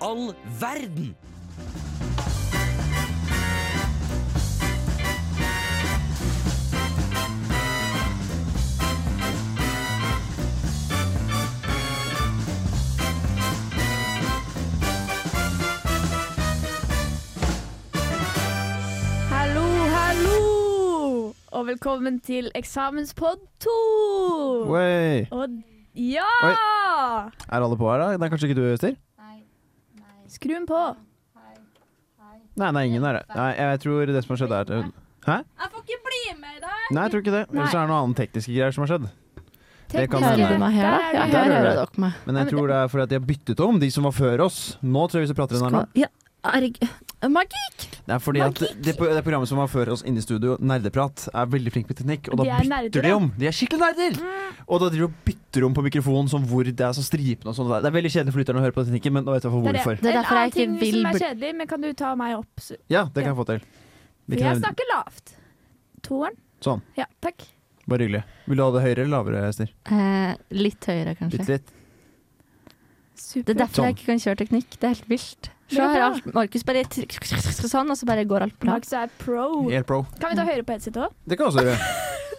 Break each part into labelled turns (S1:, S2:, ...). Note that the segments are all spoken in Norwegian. S1: all verden?
S2: Hallo, hallo! Og velkommen til eksamenspod 2!
S3: Wey.
S2: Og ja!
S3: Er alle på her, da? Det er kanskje ikke du, Øystein?
S2: Skru den på.
S3: Nei, nei, ingen er det. Nei, jeg tror det som har skjedd, er Hæ?
S4: Jeg får ikke bli med i dag!
S3: Nei, jeg tror ikke det. Ellers er det noe annet tekniske greier som har skjedd. Det kan
S2: Tekniske-
S3: hende.
S5: Hører du meg her, da?
S2: Der
S5: Ja,
S2: er
S3: Der
S5: her
S3: hører
S5: hører
S3: jeg.
S5: dere meg.
S3: Men jeg tror det er fordi at de har byttet om, de som var før oss. Nå tror jeg vi skal prate i den armen.
S5: Ja, erg... Magik!
S3: Det er fordi at det, det programmet som var før oss inne i studio, Nerdeprat, er veldig flink med teknikk. Og da
S2: De er
S3: bytter
S2: nerder,
S3: de
S2: ja. Mm.
S3: om! De er skikkelig nerder! Og da driver de og bytter om på mikrofonen som hvor det er sånn stripene og sånn. Det er veldig kjedelig for lytterne å høre på teknikken, men da vet jeg
S2: Det er
S3: hvorfor.
S5: Det er derfor
S2: En
S5: jeg
S2: annen
S5: ikke vil
S2: ting som
S5: bli-
S2: er kjedelig, men kan du ta meg opp? så-
S3: Ja, det kan jeg få til. Vi
S2: For jeg
S3: kan,
S2: snakker lavt. Toeren.
S3: Sånn.
S2: Ja, takk.
S3: bare hyggelig. Vil du ha det høyere eller lavere, Ester?
S5: Eh, litt høyere, kanskje.
S3: Bitte litt.
S2: Super.
S5: Det er derfor jeg ikke kan kjøre teknikk. Det er helt vilt.
S2: Det
S5: Så
S2: er
S5: hører
S2: bra.
S5: alt Markus bare tr- tr- tr- tr- sånn, og så bare går alt bra.
S2: Max er pro.
S3: Helt pro.
S2: Kan vi ta høyre på headset òg?
S3: Det kan jeg også gjøre.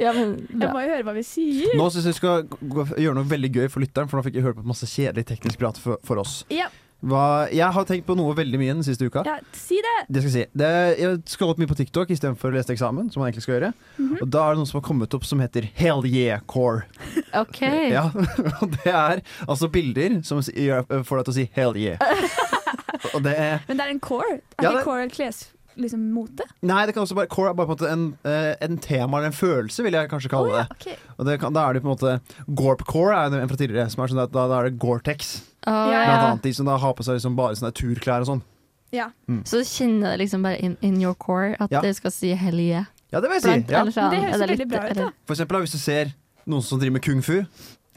S5: Ja, men
S2: Jeg må jo høre hva vi sier.
S3: Nå syns jeg vi skal gå- gå- gjøre noe veldig gøy for lytteren, for nå fikk jeg høre på masse kjedelig teknisk prat for, for oss.
S2: Ja.
S3: Hva, jeg har tenkt på noe veldig mye den siste uka.
S2: Ja, si det.
S3: Det skal jeg si. Det, jeg scrollet mye på TikTok istedenfor å lese eksamen, som man egentlig skal gjøre.
S2: Mhm.
S3: Og da er det noen som har kommet opp som heter Hell Yeah Core.
S5: OK.
S3: Ja, og det er altså bilder som s- gjør, eh, får deg til å si Hell Yeah. og det er
S2: Men det er en core. Er
S3: Ja,
S2: ikke
S3: det-
S2: core kles... Liksom mote?
S3: Nei, det kan også bare Core er bare på en måte en, eh, en tema eller en følelse, vil jeg kanskje kalle det.
S2: Ok.
S3: Og det kan, da er det på en måte Gorp-core er en fra tidligere, som er sånn at da, da er det Gore-Tex.
S5: Å,
S2: Ja,
S3: Blant
S5: ja.
S3: annet de som da har på seg liksom bare sånne turklær og sånn.
S5: Så kjenner det liksom bare in, in your core at
S3: Ja.
S5: du skal si hell yeah.
S3: Ja, det vil jeg
S5: Blant,
S3: si. Ja.
S5: ellers
S2: Men det
S5: er
S2: høres veldig bra ut, da.
S3: For eksempel da, hvis du ser noen som driver med kung fu.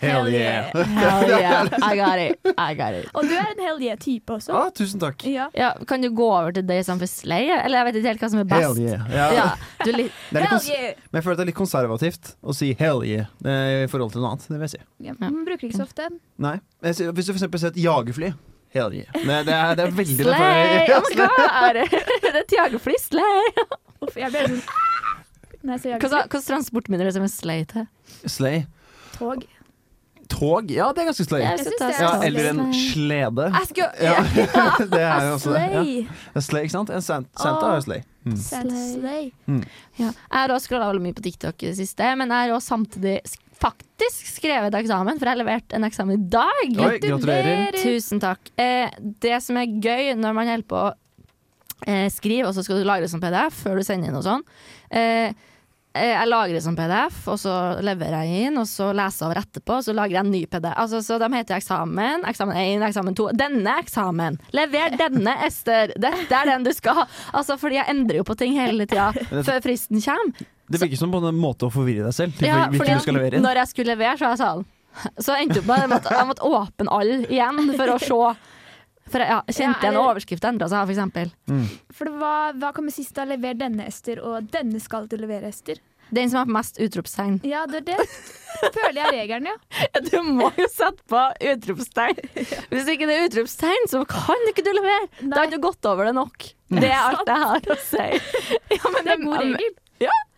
S2: Hell yeah.
S5: Hell yeah. I got it. I got it.
S2: Og du er en hell yeah-type også.
S3: Ja, tusen takk.
S2: Ja.
S5: Ja, kan du gå over til det istedenfor slay? Eller jeg vet ikke helt hva som er best.
S3: Hell yeah. Ja.
S5: Ja, du er litt,
S3: Det er litt
S2: Hell
S3: kons-
S2: yeah!
S3: men jeg føler at det er litt konservativt å si hell yeah eh, i forhold til noe annet. Det vil jeg si.
S2: Ja, man bruker det ikke så ofte.
S3: Nei. Jeg sier- Hvis du for eksempel ser et jagerfly. Hell yeah. Nei, det, er, det er veldig det
S5: slay!
S3: føler
S5: Oh my god! Det er et jagerfly. Slay!
S2: Uff, jeg ble sånn Nei, så jeg
S5: Hva slags transportminner er det som er slay til?
S3: jeg- Slay.
S2: tog.
S3: Tog? Ja, det er ganske slay.
S2: Jeg synes det er
S3: Ja, eller en slede.
S5: Jeg skulle
S3: Ja, det er jo også det. Ja.
S2: Slay.
S3: Ja, Slay, ikke sant? En sant- Santa er jo slay.
S2: Slay.
S5: Ja. Jeg har også skrolla veldig mye på TikTok i det siste, men jeg har også samtidig sk- faktisk skrevet eksamen, for jeg har levert en eksamen i dag.
S3: Oi, gratulerer.
S5: Tusen takk. Eh, det som er gøy når man holder på å eh, skrive, og så skal du lagre det som PDF før du sender inn og sånn eh, eh, jeg lagrer det som PDF, og så leverer jeg inn, og så leser jeg over etterpå, og så lager jeg en ny PDF. Altså, så de heter eksamen, eksamen 1, eksamen 2. Denne eksamen! Lever denne, Ester! Dette er den du skal ha! Altså, fordi jeg endrer jo på ting hele tida før fristen kommer.
S3: Det virker som på en måte å forvirre deg selv. Til
S5: Ja,
S3: hvilken
S5: fordi
S3: du skal levere inn.
S5: Når jeg skulle levere, så var jeg sånn Så endte det opp med at jeg måtte åpne alle igjen for å se. For jeg ja,
S2: Ja,
S5: kjente igjen
S2: eller-
S5: overskrift endra seg, for eksempel.
S2: For det var, hva kommer sist da? Lever denne, Ester, og denne skal du levere, Ester.
S5: Den som har mest utropstegn.
S2: Ja, det, det føler jeg er regelen, ja.
S5: Du må jo sette på utropstegn! Hvis ikke det er utropstegn, så kan ikke du levere! Da har du gått over det nok. Det er alt jeg har å si. Ja, men
S2: Det er en god regel.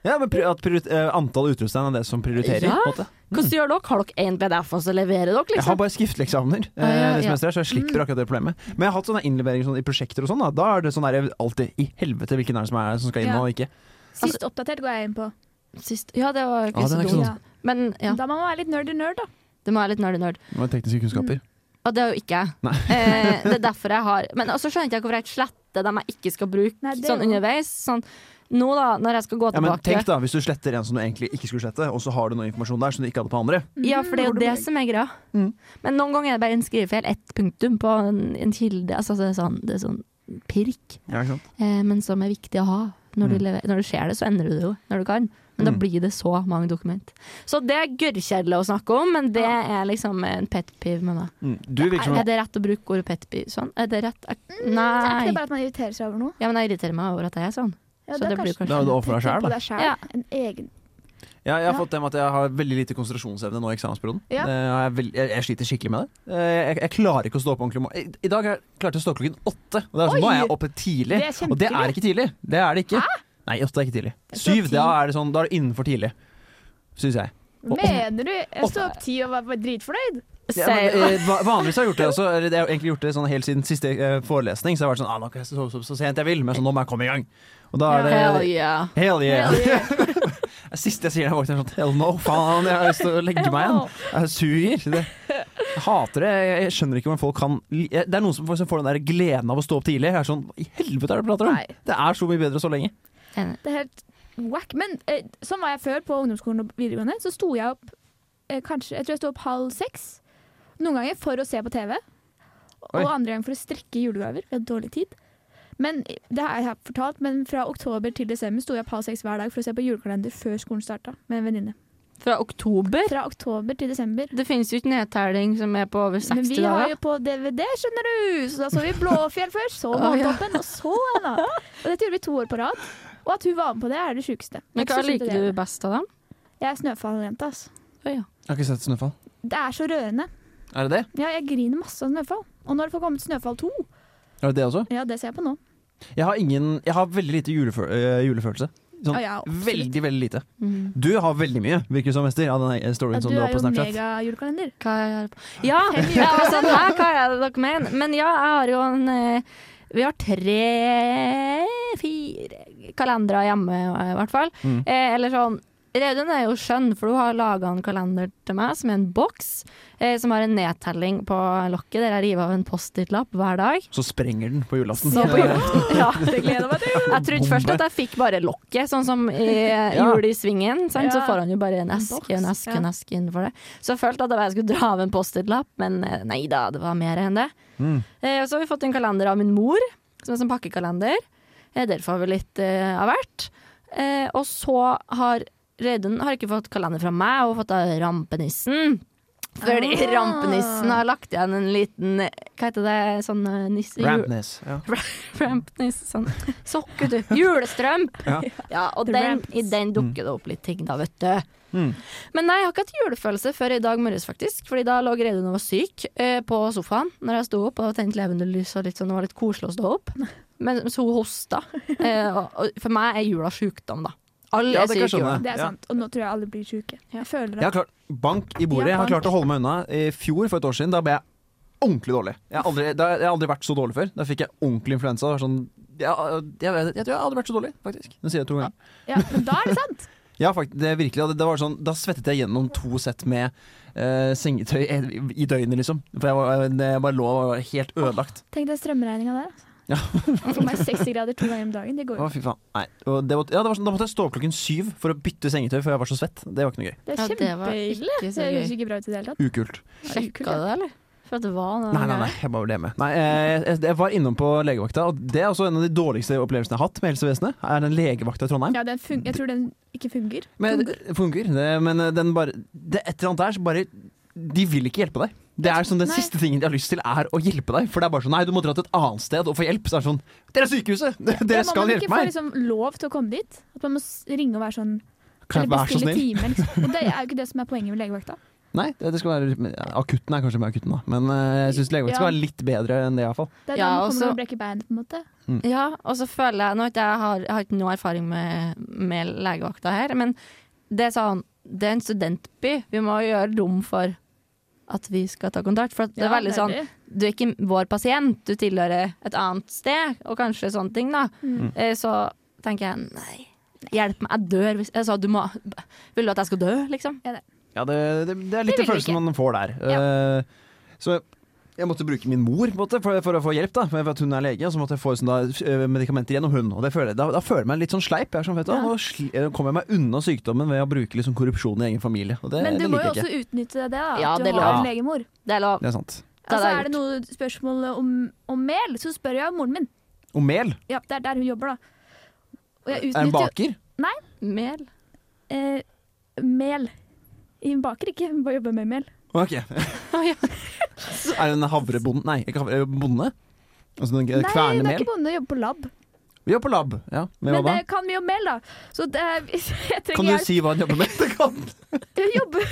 S3: Ja, men pri at priori- eh, Antall utropstegn er det som prioriterer.
S5: Ja.
S3: på en måte.
S5: Hvordan gjør dere? Har dere én PDF, og så leverer dere,
S3: Jeg har
S5: liksom?
S3: bare skriftlige eksamener, eh,
S5: Ah, ja, Mm.
S3: det
S5: ja.
S3: semesteret, så jeg slipper akkurat det problemet. Men jeg har hatt sånne innleveringer sånn, i prosjekter og sånn. Da. da er det sånn der, alltid i helvete hvilken er det som, er, som skal inn
S2: Ja.
S3: og ikke.
S5: Altså-
S2: Sist oppdatert går jeg inn på.
S5: Sist. Ja, det var ikke
S3: Ja,
S5: så
S3: den er ikke sånn.
S5: dumt.
S3: så
S2: Ja.
S5: Men ja,
S2: Da må man være litt nerd i nerd, da.
S5: det må være litt nerdy-nerd.
S3: Det var tekniske
S5: Mm.
S3: kunnskaper.
S5: Og det er jo ikke jeg. Eh, det er derfor jeg har Men også skjønner jeg ikke hvorfor jeg sletter dem jeg ikke skal bruke
S2: Nei, det er
S5: sånn
S2: jo-
S5: underveis. Sånn, nå da, når jeg skal gå
S3: Ja, men
S5: tilbake
S3: tenk da, Hvis du sletter en som du egentlig ikke skulle slette, og så har du noe informasjon der som du ikke hadde på andre.
S5: Ja,
S2: Mm,
S5: for det er jo det som er greia.
S3: Mm.
S5: Men noen ganger er det bare en skrivefeil, ett punktum på en, en kilde. Altså, det, er sånn, det er sånn pirk,
S3: Ja, ikke sant?
S5: eh, men som er viktig å ha. Når
S2: Mm.
S5: du, lever, når du ser det, så endrer du det jo når du kan. Men da
S3: Mm.
S5: blir det så mange dokument. Så det er gørrkjedelig å snakke om, men det er liksom en pet piv med meg.
S3: Mm. Du virker som
S5: Er det rett å bruke ordet pet piv sånn? Er det rett?
S2: Mm, Så er ikke
S5: Nei.
S2: det bare at man irriterer seg over noe?
S5: Ja, men jeg irriterer meg over at jeg er sånn.
S2: Ja,
S5: så det blir
S2: kanskje-
S5: kanskje
S3: Da er du overfor deg selv, da.
S2: På deg selv.
S5: Ja.
S2: En egen
S3: Ja, jeg har
S2: Ja.
S3: fått det med at jeg har veldig lite konsentrasjonsevne nå i eksamensperioden.
S2: Ja.
S3: Eh, og Jeg, er veld- jeg, jeg sliter skikkelig med det. Eh, Jeg, jeg klarer ikke å stå opp ordentlig. om morgenen. I, I dag har jeg klarte jeg å stå opp klokken åtte. Og det er sånn, nå er
S2: Oi!
S3: jeg oppe tidlig.
S2: Det er
S3: og det er
S2: kjempetidlig.
S3: ikke tidlig. Det er det ikke. Nei, åtte er ikke tidlig.
S2: Jeg står
S3: Syv,
S2: ti.
S3: da er det sånn, da er det innenfor tidlig. Syns jeg. Og-
S2: Mener du? Jeg sto
S3: og-
S2: opp ti og var bare dritfornøyd.
S3: Ja, men,
S5: Sier-
S3: eh, va- vanligvis har jeg gjort det også. Eller, jeg har egentlig gjort det sånn helt siden siste eh, forelesning. Så jeg har vært sånn ah, nå kan jeg sove så, så sent jeg vil, men sånn, nå må jeg komme i gang. Og da er det
S5: Hell yeah.
S3: Hell yeah.
S2: Hell yeah.
S3: Det siste jeg sier når jeg våkner, er sånn Hell no, faen, jeg har lyst til å legge meg igjen. Jeg suger. Det, jeg hater det. Jeg, jeg skjønner ikke hvordan folk kan li- jeg, Det er noen som, får- som får den der gleden av å stå opp tidlig. Jeg er sånn Hva i helvete er det du prater om?
S2: Nei.
S3: Det er så mye bedre så lenge.
S5: Enig.
S2: Det er helt whack. Men eh, sånn var jeg før på ungdomsskolen og videregående. Så sto jeg opp eh, kanskje Jeg tror jeg sto opp halv seks. Noen ganger for å se på TV, og
S3: Oi.
S2: andre ganger for å strekke julegaver. Vi hadde dårlig tid. Men eh, det har jeg fortalt, men fra oktober til desember sto jeg opp halv seks hver dag for å se på julekalender før skolen starta, med en venninne.
S5: Fra oktober?
S2: Fra oktober til desember.
S5: Det finnes jo ikke nedtelling som er på over 60
S2: Men vi har
S5: dager.
S2: jo på DVD, skjønner du! Så da så vi Blåfjell først, så
S5: Å,
S2: Måltoppen, og så Anna. Og dette gjorde vi to år på rad. Og at hun var med på det, er det sjukeste.
S5: Men hva
S2: så sluttet
S5: liker
S2: jeg
S5: du
S2: med det.
S5: best av dem?
S2: Jeg er snøfalljente, altså.
S5: Oi, ja.
S3: Jeg har ikke sett Snøfall.
S2: Det er så rørende.
S3: Er det det?
S2: Ja, jeg griner masse av Snøfall. Og når det får komme til Snøfall 2,
S3: Er det det også?
S2: ja, det ser jeg på nå.
S3: Jeg har, ingen, jeg har veldig lite juleføl øh, julefølelse. Sånn,
S2: Å, ja, absolutt.
S3: veldig, veldig lite.
S5: Mm.
S3: Du har veldig mye, virker det som, Ester, av den eh, storyen
S2: Ja,
S3: som
S2: du
S3: du har
S2: er
S3: på
S2: jo
S3: Snapchat.
S2: megajulekalender.
S5: Hva jeg har på Ja! Jeg var sånn, Hæ, hva er det dere mener? Men ja, jeg har jo en eh, Vi har tre fire kalendere hjemme, eh, i hvert fall.
S3: Mm.
S5: Eh, eller sånn Reudun er jo skjønn, for hun har laga en kalender til meg som er en boks, eh, som har en nedtelling på lokket der jeg river av en Post-It-lapp hver dag.
S3: Så sprenger den på julaften.
S5: Så på
S3: Ja.
S5: Ja,
S2: Det gleder meg til.
S5: Jeg trodde først at jeg fikk bare lokket, sånn som i
S3: Ja.
S5: jul i svingen. Sant? Så
S2: Ja.
S5: får han jo bare en
S2: En
S5: eske,
S2: boks,
S5: en eske,
S2: ja.
S5: en eske innenfor det. Så jeg følte at det var jeg skulle dra av en Post-It-lapp, men eh, nei da, det var mer enn det.
S3: Mm.
S5: Eh, og så har vi fått en kalender av min mor, som er som pakkekalender. Eh, der får vi litt eh, av hvert. Eh, og så har Reidun har ikke fått kalender fra meg, hun har fått av Rampenissen. Fordi
S2: Ah.
S5: Rampenissen har lagt igjen en liten eh, Hva heter det? Sånn eh, nisse... jul-
S3: Rampness. Ja.
S5: Rampeniss. Sånn sokke, du. Julestrømp.
S3: Ja.
S5: Ja, og
S2: The
S5: den,
S2: Ramps.
S5: i den dukker det opp litt ting, da, vet du.
S3: Mm.
S5: Men nei, jeg har ikke hatt julefølelse før i dag morges, faktisk. Fordi da lå Reidun og var syk eh, på sofaen når jeg sto opp og tente levende lys og litt sånn, det var litt koselig å stå opp. Men så hun hosta. Eh, og, og for meg er jula sjukdom, da. Alle
S3: Ja,
S5: er
S3: det kan jeg
S5: syke. i jula.
S3: skjønne.
S2: Det er
S3: Ja.
S2: sant. Og nå tror jeg alle blir sjuke. Jeg føler
S3: Jeg
S2: det.
S3: har klart bank i bordet.
S2: Ja,
S3: Jeg har
S2: bank.
S3: klart å holde meg unna. I fjor, for et år siden, da ble jeg ordentlig dårlig. Jeg har aldri, da, jeg har aldri vært så dårlig før. Da fikk jeg ordentlig influensa. Det var Sånn, jeg, jeg, jeg, tror jeg har aldri vært så dårlig, faktisk. Nå sier jeg to ganger.
S2: Ja, men da er det sant!
S3: Ja, faktisk, det er virkelig, det, det var sånn, da svettet jeg gjennom to sett med eh, sengetøy i, i døgnet, liksom. For jeg, var, jeg bare lå og var helt ødelagt.
S2: Tenk den strømregninga der. altså.
S3: Ja.
S2: For meg 60 grader to ganger om dagen, det går
S3: Å,
S2: jo.
S3: fy faen. Nei. Og det var, ja, det var sånn, da måtte jeg stå opp klokken syv for å bytte sengetøy, for jeg var så svett. Det var ikke noe gøy.
S2: Det er
S5: Ja, det var
S2: kjempeille.
S5: ikke
S2: Det
S5: så
S2: høres
S5: gøy.
S2: ikke bra ut i det hele tatt.
S3: Ukult.
S2: Det er ukult,
S5: Sjekka du
S2: ja.
S5: det, eller? For at det var noe
S3: Nei, nei, nei, jeg bare ble hjemme. Nei, eh, jeg, jeg var innom på legevakta, og det er også en av de dårligste opplevelsene jeg har hatt med helsevesenet. Er den legevakta i Trondheim.
S2: Ja, den fun jeg tror den ikke fungerer.
S3: Men det funker, det, men eh, den bare Det er et eller annet der som bare De vil ikke hjelpe deg. Det er sånn Den
S2: Nei.
S3: siste tingen de har lyst til, er å hjelpe deg. For det er bare sånn Nei, du må dra til et annet sted og få hjelp. Så er det sånn Dere er sykehuset! Dere skal hjelpe
S2: Man må
S3: meg!
S2: ikke få liksom, lov til å komme dit. At man må s- ringe og være sånn
S3: Kan jeg
S2: eller
S3: være så
S2: bestille
S3: snill?
S2: Time, liksom. Og det er jo ikke det som er poenget med legevakta.
S3: Nei, det det skal være men, ja, Akutten er kanskje med akutten, da. Men eh, jeg syns legevakta skal
S2: Ja.
S3: være litt bedre enn det, iallfall.
S2: Det er da
S5: Ja,
S2: man
S5: og
S2: kommer
S5: så-
S2: og brekker beinet, på en måte.
S5: Ja, og så føler jeg Nå har ikke jeg har, jeg har ikke noe erfaring med, med legevakta her, men det er sånn Det er en studentby. Vi må gjøre rom for at vi skal ta kontakt. For at det er
S2: Ja,
S5: veldig sånn
S2: det.
S5: Du er ikke vår pasient, du tilhører et annet sted, og kanskje sånne ting, da.
S2: Mm.
S5: Eh, Så tenker jeg nei, hjelp meg, jeg dør hvis Jeg sa du må Vil du at jeg skal dø, liksom?
S3: Ja, det, det, det er litt
S2: Det
S3: den
S2: vil
S3: følelsen
S2: ikke.
S3: man får der. Eh, så jeg måtte bruke min mor på en måte, for, for å få hjelp, da, for at hun er lege. Og så måtte jeg få sånn, da, eh, medikamenter gjennom hun. Og det føler jeg, da, da føler jeg meg litt sånn sleip. Jeg er sånn, vet du,
S2: Ja.
S3: Nå sli, eh, kommer jeg meg unna sykdommen ved å bruke liksom, korrupsjon i egen familie. Og det,
S2: Men du
S3: det
S2: må jo
S3: liker jeg
S2: også
S3: ikke.
S2: utnytte det, da. At
S5: Ja,
S2: du
S5: det
S2: har
S3: lover.
S2: en legemor.
S5: Det er lov.
S3: Det er sant.
S5: Det
S2: Altså,
S5: hadde jeg
S2: er det noe spørsmål om, om mel, så spør jeg moren min.
S3: Og mel.
S2: Ja, det er der hun jobber, da. Og jeg
S3: Er hun
S2: utnytter
S3: baker?
S5: Mel.
S2: eh, mel. Hun baker ikke, hun bare jobber med mel.
S3: Ok.
S5: Å, ja.
S3: Er hun havrebonde? Nei, ikke havre, bonde? Altså, den
S2: Nei, hun
S3: kverner
S2: er
S3: mel?
S2: ikke bonde, hun jobber på lab.
S3: Vi jobber på lab. Ja, med
S2: Men
S3: hva da?
S2: det kan vi jo melde, da. Så det er, jeg trenger
S3: Kan du
S2: hjelp.
S3: si hva han jobber med? Det kan.
S2: Jeg jobber,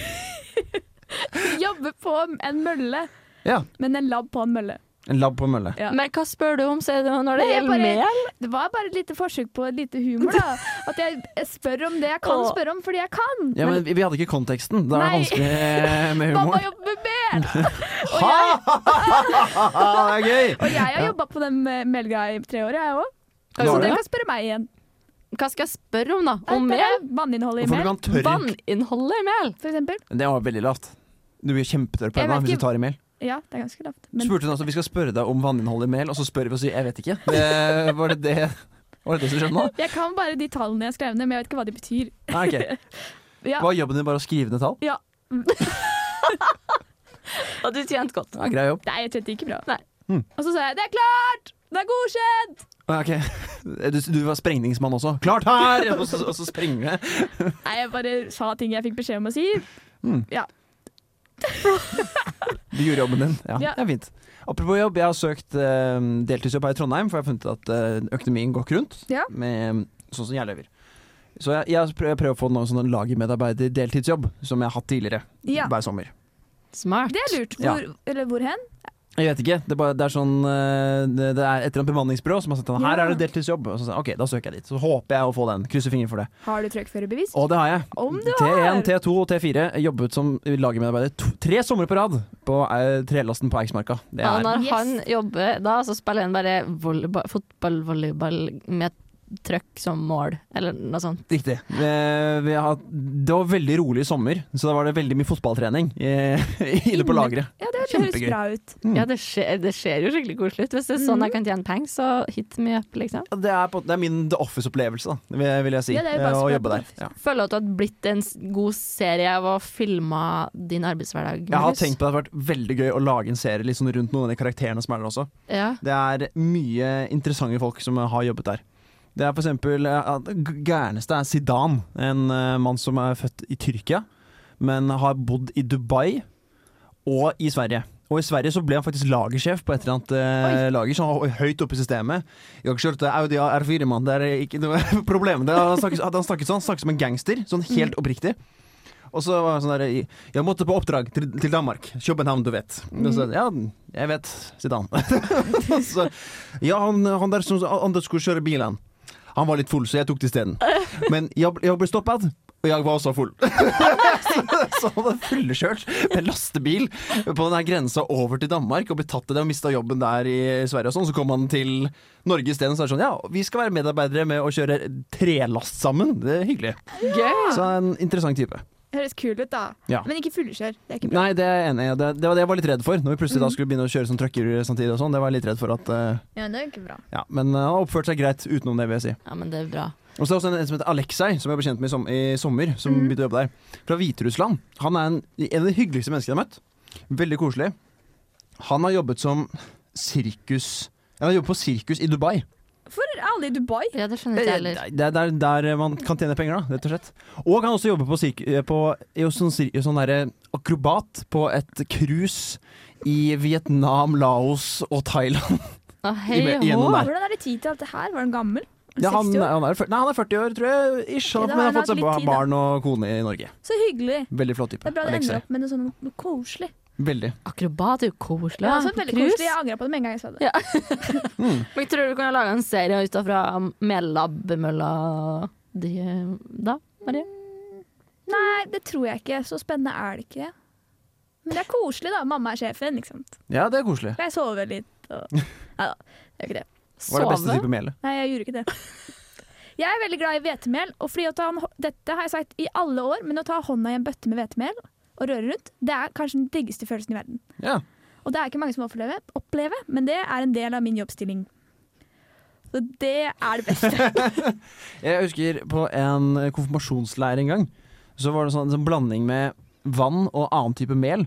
S2: jobber på en mølle,
S3: Ja,
S2: men en lab på en mølle.
S3: En lab på mølle.
S2: Ja.
S5: Men hva spør du om sier du, når det
S2: Nei, jeg
S5: gjelder
S2: bare-
S5: mel?
S2: Det var bare et lite forsøk på et lite humor, da. At jeg jeg spør om det jeg kan
S5: Åh.
S2: spørre om, fordi jeg kan.
S3: Ja, men vi vi hadde ikke konteksten. Da er det
S2: Nei.
S3: vanskelig med
S2: Mamma
S3: humoren.
S2: jobber med mel!
S3: Ha! Ah, Det er
S2: Og
S3: gøy!
S2: jeg har
S3: Ja.
S2: jobba på den eh, melgreia i tre år, jeg òg. Så
S5: Hva
S3: Har du
S2: dere
S5: skal
S2: kan spørre meg igjen.
S5: jeg spørre om, da? Om
S2: Nei,
S5: mel?
S2: bare Vanninnholdet i
S3: Hvorfor du
S2: mel,
S3: kan tørr
S5: Vanninnholdet i mel?
S2: for eksempel.
S3: Det var veldig lavt. Du blir kjempetørr på
S2: Jeg
S3: hendene
S2: vet
S3: hvis
S2: ikke-
S3: du tar i mel.
S2: Ja, det er ganske lavt. Men
S3: Spurte hun altså vi skal spørre deg om vanninnholdet i mel, og så spør vi og sier jeg vet ikke. Det, var, det det, var det det som skjedde nå?
S2: jeg kan bare de tallene jeg skrev ned, men jeg vet ikke hva de betyr.
S3: Nei, ok.
S2: Ja.
S3: Var jobben din bare å skrive ned tall?
S5: Og du tjente godt.
S3: Ja, grei jobb.
S2: Nei, jeg tjente ikke bra.
S5: Nei.
S3: Mm.
S2: Og så sa jeg 'det er klart! Det er godkjent!'
S3: Ja, ok. Du, du var sprengningsmann også. Klart her! Og så, og så sprenger det.
S2: Nei, jeg bare sa ting jeg fikk beskjed om å si.
S3: Du gjorde jobben din. Ja,
S2: Ja.
S3: det er fint. Apropos jobb, jeg har søkt eh, deltidsjobb her i Trondheim, for jeg har funnet ut at eh, økonomien går ikke rundt
S2: Ja.
S3: med, sånn som jeg lever. Så jeg, jeg prøver, jeg prøver å få noen sånn lagermedarbeider-deltidsjobb, som jeg har hatt tidligere,
S2: Ja.
S3: hver sommer.
S5: Smart.
S2: Det er lurt.
S3: Ja.
S2: Hvor, Eller hvor hen?
S3: Jeg vet ikke. Det er, bare, det er sånn eh, Det det er et eller annet bemanningsbyrå som har sett den. Her
S2: Ja.
S3: er det deltidsjobb. Og så sier jeg, OK, da søker jeg dit. Så håper jeg å få den. Krysser fingre for det.
S2: Har du trøkkførerbevis?
S3: Og det har jeg.
S2: Om du har!
S3: T1, T2 og T4. Jeg Jobbet som lagermedarbeider to, tre somre på rad på eh, trelasten på Eiksmarka. Det
S5: Og
S3: er
S5: når
S2: Yes.
S5: han jobber da, så spiller han bare volleyball, fotball, volleyball med trøkk som mål, eller noe sånt.
S3: riktig. Eh, Vi har, hatt- det var veldig rolig i sommer, så da var det veldig mye fotballtrening eh, inne på
S2: Inne.
S3: lageret.
S2: Ja, det høres
S3: Kjempegøy.
S2: bra ut.
S3: Mm.
S5: Ja, det ser, det ser jo skikkelig koselig ut. Hvis det er sånn jeg kan tjene penger, så hit me up, liksom.
S3: Det er, på, det er min The Office-opplevelse, da, vil- vil jeg si.
S2: Ja, det er jo
S3: eh,
S2: bare
S3: å
S2: å spille på
S3: jobbe
S2: The
S3: der.
S2: Office.
S3: Ja.
S5: Føler du at du har blitt en s- god serie av å filme din arbeidshverdag?
S3: Jeg har
S5: Markus?
S3: tenkt på at det hadde vært veldig gøy å lage en serie litt sånn rundt noen av de karakterene som er der også.
S5: Ja.
S3: Det er mye interessante folk som har jobbet der. Det er for eksempel eh, at g- gærneste er Zidane, en eh, mann som er født i Tyrkia, men har bodd i Dubai og i Sverige. Og i Sverige så ble han faktisk lagersjef på et eller annet eh, lager, så han var høyt oppe i systemet. Jeg har kjørt Audi R4, mann, det er ikke noe problem. Det er- Han snakket, han snakket sånn, han snakket som en gangster, sånn helt oppriktig. Og så var han sånn der Jeg måtte på oppdrag til, til Danmark. København, du vet. Og så, ja, jeg vet, Zidane. Og så, ja, han, han der som andre skulle kjøre bilen. Han var litt full, så jeg tok det isteden. Men jeg, jeg ble stoppet, og jeg var også full. så, så han var fullekjørt med lastebil på den her grensa over til Danmark og ble tatt til det og mista jobben der i Sverige og sånn. Så kom han til Norge isteden, så er det sånn ja, vi skal være medarbeidere med å kjøre trelast sammen. Det er hyggelig.
S5: Gøy!
S3: Så en interessant type.
S2: Høres kul ut, da.
S3: Ja.
S2: Men ikke fuglekjør. Det er ikke bra.
S3: Nei, det er jeg enig i. Det, det var det jeg var litt redd for. Når vi plutselig da skulle begynne å kjøre som trucker samtidig og sånn. Det var jeg litt redd for at eh,
S2: Ja, det er ikke bra.
S3: Ja, men eh, han har oppført seg greit utenom det, vil jeg si.
S5: Ja, men det er bra.
S3: Og så er det også en, en som heter Aleksej, som jeg ble kjent med i, som, i sommer. Som
S2: Mhm.
S3: begynte å jobbe der. Fra Hviterussland. Han er en, en av de hyggeligste menneskene jeg har møtt. Veldig koselig. Han har jobbet som sirkus Han har jobbet på sirkus i Dubai.
S2: For alle i Dubai.
S5: Ja, det
S3: Det
S5: skjønner ikke jeg
S3: er
S5: heller.
S3: det er der, der man kan tjene penger, da, rett og slett. Og han også jobber på, sirk, eh, på i sånn, sir- sånn derre akrobat på et cruise i Vietnam, Laos og Thailand.
S5: Å, hei
S3: i-
S5: hå.
S3: gjennom der.
S2: Hvordan er det tid til alt det her? Var han gammel?
S3: Ja, han,
S2: 60 år?
S3: han, er, fyr- nei, han er 40 år, tror jeg. Ish,
S2: Ok, da
S3: han,
S2: har
S3: men han har
S2: han
S3: fått seg
S2: hatt litt
S3: bar-
S2: tid, da.
S3: barn og kone i Norge.
S2: Så hyggelig.
S3: Veldig flott type.
S2: Det er bra det
S3: Alexei.
S2: ender opp med noe sånn noe koselig.
S3: Veldig.
S5: Akrobat er jo koselig.
S2: Det er
S5: da.
S2: også altså,
S5: På
S2: veldig
S5: cruise.
S2: koselig. Jeg angrer på det med en gang jeg sa det.
S5: Ja. Men tror du du kunne laga en serie ut um, fra Mellabmølla de, da, Marie?
S2: Nei, det tror jeg ikke. Så spennende er det ikke. Men det er koselig, da. Mamma er sjefen, ikke sant.
S3: Ja, det er koselig.
S2: Og jeg sover litt og Nei da, det er ikke det.
S3: Var det beste
S5: Sove?
S3: type melet?
S2: Nei, jeg gjorde ikke det. Jeg er veldig glad i hvetemel, og fordi at han, dette har jeg sagt i alle år, men å ta hånda i en bøtte med hvetemel og røre rundt, det er kanskje den diggeste følelsen i verden.
S3: Ja.
S2: Og det er ikke mange som opplever, opplever men det er en del av min jobbstilling. Så det er det beste.
S3: Jeg husker på en konfirmasjonsleir en gang, så var det sånn, en sånn blanding med vann og annen type mel.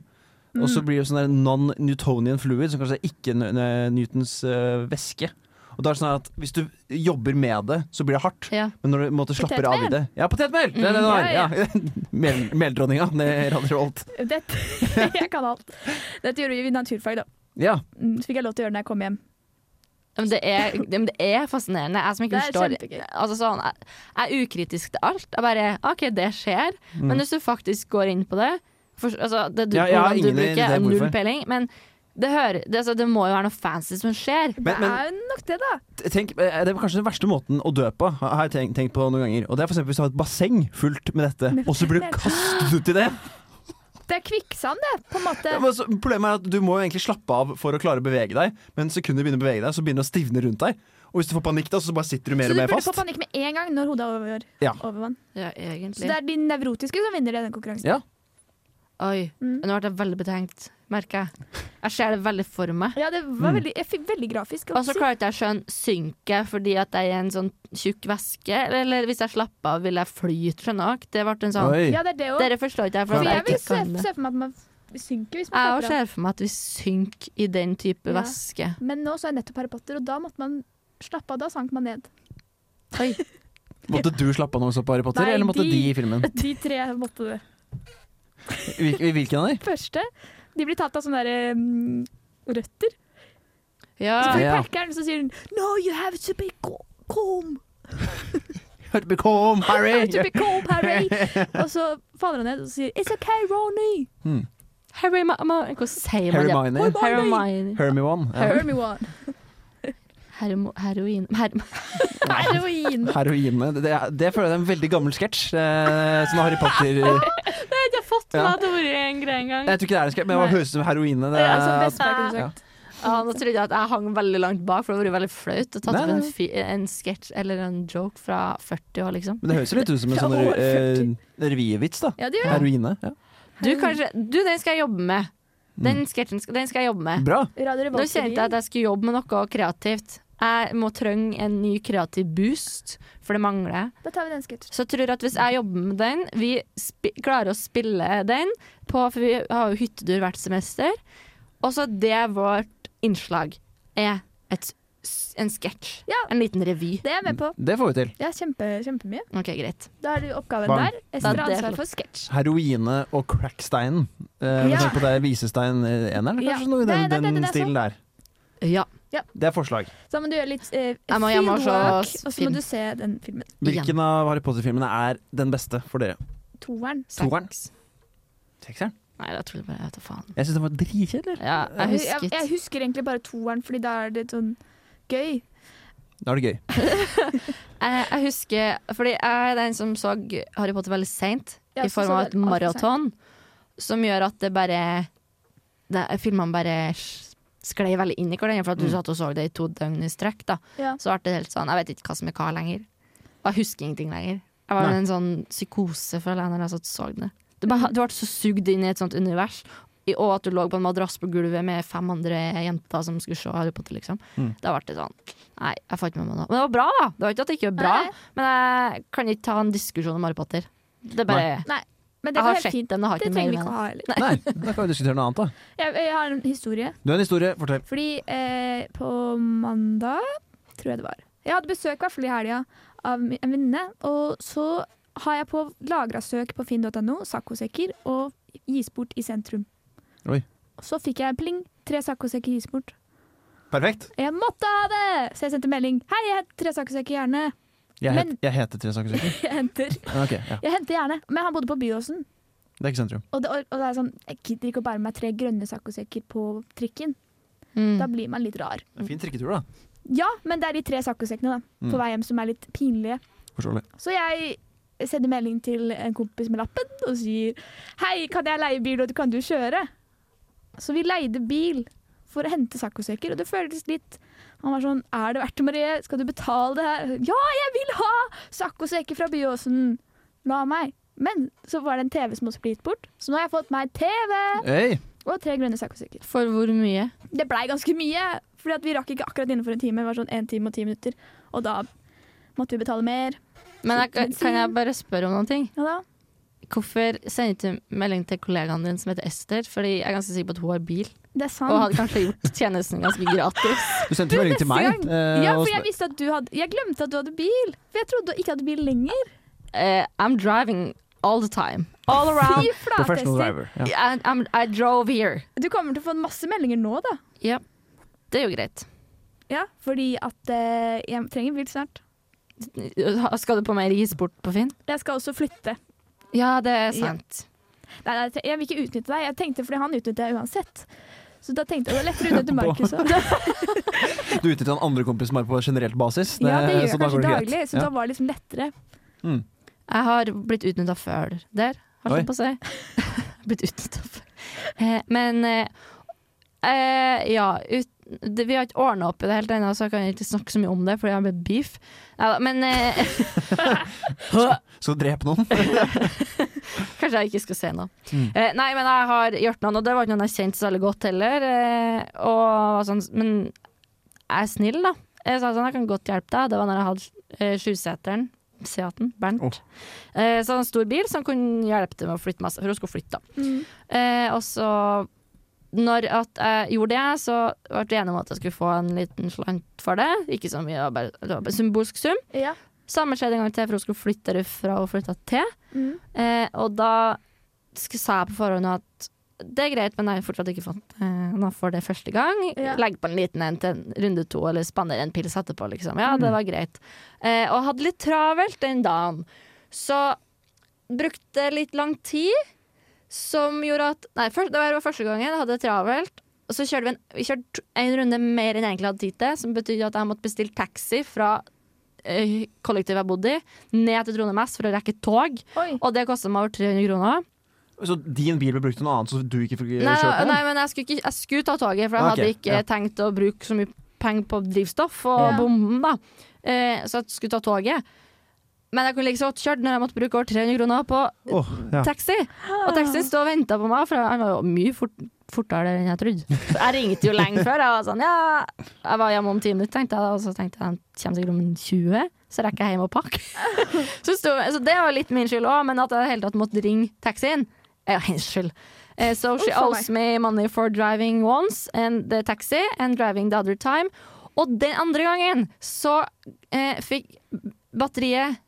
S3: Og så blir det sånn der non-Newtonian fluid, som kanskje er ikke N- N- Newtons øh, væske. Og da er det sånn at Hvis du jobber med det, så blir det hardt.
S5: Ja.
S3: Men når du på en måte, slapper av i
S2: Potetmel.
S3: det Ja, potetmel! Det er det det
S2: Mm,
S3: var.
S2: ja,
S3: Ja, Mel, meldronninga. Det er Radio Revolt.
S2: Dette, jeg kan alt. Dette gjorde vi i naturfag, da.
S3: Ja.
S2: Mm, Så fikk jeg lov til å gjøre det når jeg kom hjem.
S5: Men det er, det, men det er fascinerende. Jeg som ikke
S2: Det er
S5: forstår
S2: kjempegøy.
S5: altså sånn, jeg, jeg er ukritisk til alt. Jeg bare OK, det skjer.
S3: Mm.
S5: Men hvis du faktisk går inn på det for, altså, Det du,
S3: Ja, jeg har
S5: hvordan du
S3: ingen
S5: bruker,
S3: idé
S5: er null
S3: hvorfor.
S5: peiling. Men det, hører, det, altså, det må jo være noe fancy som skjer.
S3: Men-
S2: det
S3: men-
S2: er jo nok det, da.
S3: Tenk, eh, det er kanskje den verste måten å dø på, har jeg tenkt, tenkt på noen ganger. Og det er for eksempel hvis du har et basseng fullt med dette,
S2: Med
S3: og så blir du
S2: fettet.
S3: kastet uti det.
S2: Det er kvikksand, det. På en måte.
S3: Ja, men så, problemet er at du må jo egentlig slappe av for å klare å bevege deg, men sekundet begynner å bevege deg, så begynner det å stivne rundt deg. Og hvis du får panikk, da, så bare sitter du mer
S2: Så
S3: og
S2: du
S3: mer
S2: burde få
S3: fast.
S2: panikk med en gang når hodet er over,
S3: Ja.
S2: over vann.
S5: Ja,
S2: Så det
S5: egentlig.
S2: er de nevrotiske som vinner i den konkurransen.
S3: Ja.
S5: Oi.
S2: Mm.
S5: Nå ble jeg veldig betenkt, merker jeg. Jeg ser det veldig for meg.
S2: Ja, det var
S3: Mm.
S2: veldig, jeg fikk veldig grafisk.
S5: Og så
S2: si.
S5: klarte jeg å skjønne synker jeg fordi at jeg er en sånn tjukk væske, eller, eller hvis jeg slapper av, vil jeg flyte, skjønner dere? Det ble en sånn
S3: Oi.
S2: Ja, det er det òg.
S5: Dere forstår ikke jeg,
S2: For
S5: for
S2: jeg
S5: at jeg
S2: vil
S5: ikke
S2: se,
S5: kan det.
S2: se for meg at man synker hvis
S5: Jeg
S2: man
S5: også
S2: slapper av.
S5: ser for meg at vi synker i den type
S2: Ja.
S5: væske.
S2: Men nå så jeg nettopp Harry Potter, og da måtte man slappe av. Da sank man ned.
S5: Oi.
S3: Måtte du slappe av når du så på Harry Potter,
S2: Nei,
S3: eller måtte
S2: de-
S3: de, i filmen?
S2: De tre måtte det.
S3: Hvil, hvilken av de?
S2: Første, de blir tatt av sånne der, mm, røtter.
S5: Ah, Ja.
S2: Så får de
S3: ja.
S2: perkeren, så sier hun No, you have to be co- calm.
S3: Hurt become
S2: You
S3: Harry!
S2: have to be calm, Harry. og så faller han ned og sier It's okay, Ronny.
S3: Hmm.
S5: Harry Ma Ma Hvordan sier man det?
S3: Hermione.
S5: Hermione.
S3: Hermione. Ja.
S2: Hermione.
S5: Hermo heroin Her
S2: Heroin.
S3: Heroine. Det, det føler jeg er en veldig gammel sketsj. Eh, sånn Harry Potter Jeg
S5: Jeg har fått
S3: med Ja. at
S5: det ordet en greie en gang.
S3: tror ikke det er en sketsj, men det
S2: Nei.
S3: høres ut som heroine. Det,
S2: Ja, altså, som
S3: er-
S2: best jeg kunne
S3: ja.
S2: sagt.
S5: Ja, nå trodde jeg at jeg hang veldig langt bak, for det hadde vært veldig flaut å ta
S3: Nei,
S5: opp en,
S3: nei.
S5: fi- en sketsj eller en joke fra 40 år, liksom.
S3: Men det høres jo litt ut som en sånn
S2: Fra år
S3: uh, revyvits, da.
S2: Ja, det gjør det.
S3: Heroine. Ja.
S5: Du, kanskje, du, den skal jeg jobbe med. Den
S3: Mm.
S5: sketsjen skal, den skal jeg jobbe med.
S3: Bra.
S2: Radio
S5: Nå
S2: Revolt.
S5: kjente jeg at jeg skulle jobbe med noe kreativt. Jeg må trenge en ny kreativ boost, for det mangler jeg.
S2: Da tar vi den sketsjen.
S5: Så jeg tror at hvis jeg jobber med den, vi spi klarer å spille den, på, for vi har jo hyttetur hvert semester. Og så det vårt innslag er et, s- en sketsj.
S2: Ja.
S5: En liten revy.
S2: Det er jeg med på.
S3: Det får vi til.
S2: Ja, kjempe, kjempemye.
S5: OK, greit.
S2: Da er det jo oppgaven
S3: Bang.
S2: der. Ester
S5: Da
S2: har
S5: det-
S2: ansvar for sketsj.
S3: Heroine og cracksteinen. Eh,
S2: Ja.
S3: ja. På deg, visestein eh, eneren,
S2: Ja.
S3: kanskje? Noe i
S2: Nei, nei,
S3: den, den
S2: det- det er
S3: stilen der.
S5: Ja.
S3: Det er forslag.
S2: Så må du gjøre litt eh,
S5: Jeg må- jeg må se
S2: fieldwork, og så
S5: film.
S2: må du se den filmen.
S3: Hvilken av Harry Potter-filmene er den beste for dere?
S2: Toeren.
S3: Toeren?
S5: Seks.
S3: Sekseren?
S5: Nei, da tror jeg bare jeg vet da faen.
S3: Jeg syns den var dritkjedelig.
S5: Ja, jeg
S2: Jeg, jeg,
S5: husket.
S2: jeg husker egentlig bare toeren, fordi da er det sånn gøy.
S3: Da er det gøy.
S5: Jeg, jeg husker Fordi jeg er den som så Harry Potter veldig seint,
S2: Ja,
S5: i
S2: så
S5: form
S2: så
S5: av
S2: det
S5: et
S2: alt for
S5: maraton, som gjør at det bare det, Filmene bare s- sklei veldig inn i hverandre, for at du
S3: Mm.
S5: satt og så det i to døgn i strekk. da
S2: Ja.
S5: Så ble det helt sånn Jeg vet ikke hva som er hva lenger. Og jeg husker ingenting lenger. Jeg var
S3: Nei.
S5: i en sånn psykose, føler jeg, når jeg satt og så det. Du, bare, du ble så sugd inn i et sånt univers, i- og at du lå på en madrass på gulvet med fem andre jenter som skulle se Harry Potter, liksom.
S3: Mm.
S5: Da ble det sånn Nei, jeg får ikke med meg noe. Men det var bra, da! Det var ikke at det ikke var bra,
S2: Nei.
S5: men jeg kan ikke ta en diskusjon om Harry Potter. Det er bare
S2: Men det
S5: Jeg
S2: går
S5: har
S2: helt
S5: sett
S2: fint.
S5: den og har
S2: Det
S5: ikke
S2: trenger vi ikke
S5: mer
S2: å
S5: med det.
S2: ha heller.
S3: Nei, da kan vi diskutere noe annet, da.
S2: Jeg, jeg har en historie.
S3: Du har en historie, fortell.
S2: Fordi eh, på mandag, tror jeg det var Jeg hadde besøk i hvert fall i helga av mi- en venninne. Og så har jeg på lagra søk på finn.no, saccosekker, og gis bort i sentrum.
S3: Oi.
S2: Så fikk jeg pling. Tre saccosekker gis bort.
S3: Perfekt.
S2: Jeg måtte ha det! Så jeg sendte melding. Hei, jeg heter Tre saccosekker gjerne.
S3: Jeg, het,
S2: Men-
S3: jeg heter Tre saker sikkert.
S2: Jeg henter.
S3: Ok, ja.
S2: Jeg henter gjerne. Men han bodde på Byåsen.
S3: Det er ikke sentrum.
S2: Og det, og det er sånn, jeg gidder ikke å bære med meg tre grønne saccosekker på trikken. Da
S5: Mm.
S2: blir man litt rar.
S3: Det er en fin trikketur, da.
S2: Ja, men det er de tre saccosekkene da, på
S3: Mm.
S2: vei hjem som er litt pinlige.
S3: Forståelig.
S2: Så jeg sender melding til en kompis med lappen og sier Hei, kan jeg leie bil, og kan du kjøre? Så vi leide bil for å hente saccosekker, og det føltes litt Han var sånn Er det verdt det, Marie? Skal du betale det her? Ja, jeg vil ha saccosekker fra Byåsen! La meg. Men så var det en TV som også ble gitt bort, så nå har jeg fått meg TV
S3: Hey.
S2: og tre grønne saccosekker.
S5: For hvor mye?
S2: Det blei ganske mye, fordi at vi rakk ikke akkurat innenfor en time. Det var sånn en time og ti minutter. Og da måtte vi betale mer.
S5: Men jeg, kan- kan jeg bare spørre om noen ting?
S2: Og da
S5: Hvorfor sender du ikke melding til kollegaen din som heter Ester? Fordi jeg er ganske sikker på at hun har bil,
S2: Det er sant.
S5: og hadde kanskje gjort tjenesten ganske gratis.
S3: Du sendte melding til
S2: neste
S3: meg.
S2: gang.
S3: eh,
S2: ja,
S3: og
S2: for jeg
S3: spør-
S2: visste at du hadde Jeg glemte at du hadde bil. For jeg trodde du ikke hadde bil lenger.
S5: Eh, I'm driving all the time. All around.
S2: Fy
S3: Professional
S2: flatester.
S3: driver. Ja.
S5: I, I'm, I drove here.
S2: Du kommer til å få masse meldinger nå, da.
S5: Det er jo greit.
S2: Ja, fordi at eh, jeg trenger bil snart.
S5: Skal du på mer isport på Finn?
S2: Jeg skal også flytte.
S5: Ja, det er
S2: Ja.
S5: sant.
S2: Nei, nei, jeg tre- jeg vil ikke utnytte deg. Jeg tenkte fordi han utnytter jeg uansett. Så da tenkte jeg det er lettere å utnytte Markus. også.
S3: Du utnytter den andre kompisen bare på generelt basis.
S2: Ja, det gjør
S3: så
S2: jeg
S3: da går
S2: kanskje
S3: det greit.
S2: daglig, så
S3: Ja.
S2: da var det liksom lettere.
S3: Mm.
S5: Jeg har blitt utnytta før der, har
S3: Oi.
S5: jeg på å si. blitt utnytta før. Eh, men eh, eh, ja, ut, det, vi har ikke ordna opp i det helt ennå, så jeg kan ikke snakke så mye om det, fordi jeg har blitt beef. Neida, men eh,
S3: Skal du drepe noen?
S5: Kanskje jeg ikke skal se noe.
S3: Mm.
S5: Eh, nei, men jeg har gjort noen, og det var ikke noen jeg kjente så veldig godt heller. Eh, og var sånn, men jeg er snill, da. Jeg sa sånn, jeg kan godt hjelpe deg. Det var når jeg hadde eh, sjuseteren, Seaten, Bernt.
S3: Oh.
S5: Eh, så en stor bil som kunne hjelpe til med å flytte masse, for hun skulle flytte, da.
S2: Mm.
S5: Eh, og så når at jeg gjorde det, så ble vi enige om at jeg skulle få en liten slant for det. Ikke så mye, det var bare, det var bare en symbolsk sum.
S2: Ja.
S5: Samme skjedde en gang til, for hun skulle flytte derfra og flytta til.
S2: Mm.
S5: Eh, og da sk- sa jeg på forhånd at det er greit, men jeg har fortsatt ikke fått eh, noe for det første gang.
S2: Ja.
S5: Legg på en liten en til en runde to, eller spander en pils etterpå, liksom. Ja, det
S3: Mm.
S5: var greit. Eh, og hadde litt travelt den dagen. Så brukte litt lang tid, som gjorde at Nei, først, det var første gangen jeg hadde det travelt. Og så kjørte vi en, vi kjørte to- en runde mer enn jeg egentlig hadde tid til, som betydde at jeg måtte bestille taxi fra eh, kollektivet jeg bodde i, ned til Trondheim S for å rekke tog.
S2: Oi.
S5: Og det kosta meg over 300 kroner.
S3: Så din bil ble brukt til noe annet, så du ikke fikk eh,
S5: Nei,
S3: kjørt den?
S5: nei men jeg skulle, ikke, jeg skulle ta toget, for jeg
S3: Ok,
S5: hadde ikke
S3: ja.
S5: tenkt å bruke så mye penger på drivstoff og
S2: Ja.
S5: bomben, da. Eh, så jeg skulle ta toget. Men jeg kunne like så godt kjørt når jeg måtte bruke over 300 kroner på
S3: Åh, ja.
S5: taxi. Og taxien sto og venta på meg, for han var jo mye fort, fortere enn jeg trodde. Så jeg ringte jo lenge før. Jeg var sånn, ja Jeg var hjemme om ti minutter, tenkte jeg, og så tenkte jeg han kommer sikkert om 20, så rekker jeg hjem og pakke. Så, sto, så det var litt min skyld òg, men at jeg i det hele tatt måtte ringe taxien, er jo hennes skyld. Eh, So she
S2: Uff a meg.
S5: owes me money for driving once and the taxi and driving the other time. Og den andre gangen så eh, fikk batteriet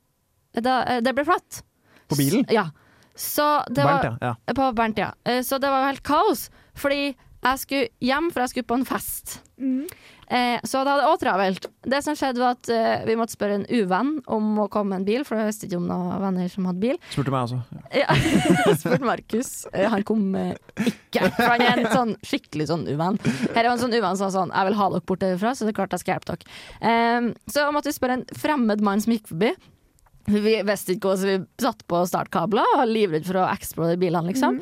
S5: da, eh, Det ble flatt.
S3: På bilen?
S5: S- Ja. Så det var,
S3: Bernt, ja. ja.
S5: På Bernt, ja. Eh, Så det var jo helt kaos, fordi jeg skulle hjem, for jeg skulle på en fest.
S2: Mm.
S5: Eh, så det hadde jeg også travelt. Det som skjedde var at eh, vi måtte spørre en uvenn om å komme med en bil, for jeg visste ikke om noen venner som hadde bil.
S3: Spurte meg altså. også.
S5: Ja, jeg spurte Markus. Eh, Han kom eh, ikke, for han er en sånn, skikkelig sånn uvenn. Her er en sånn uvenn som sa sånn, jeg vil ha dere bort derfra, så det er klart jeg skal hjelpe dere. Eh, så måtte vi spørre en fremmed mann som gikk forbi. Vi visste ikke hva, så vi satt på startkabler og var livredd for å eksplodere bilene, liksom.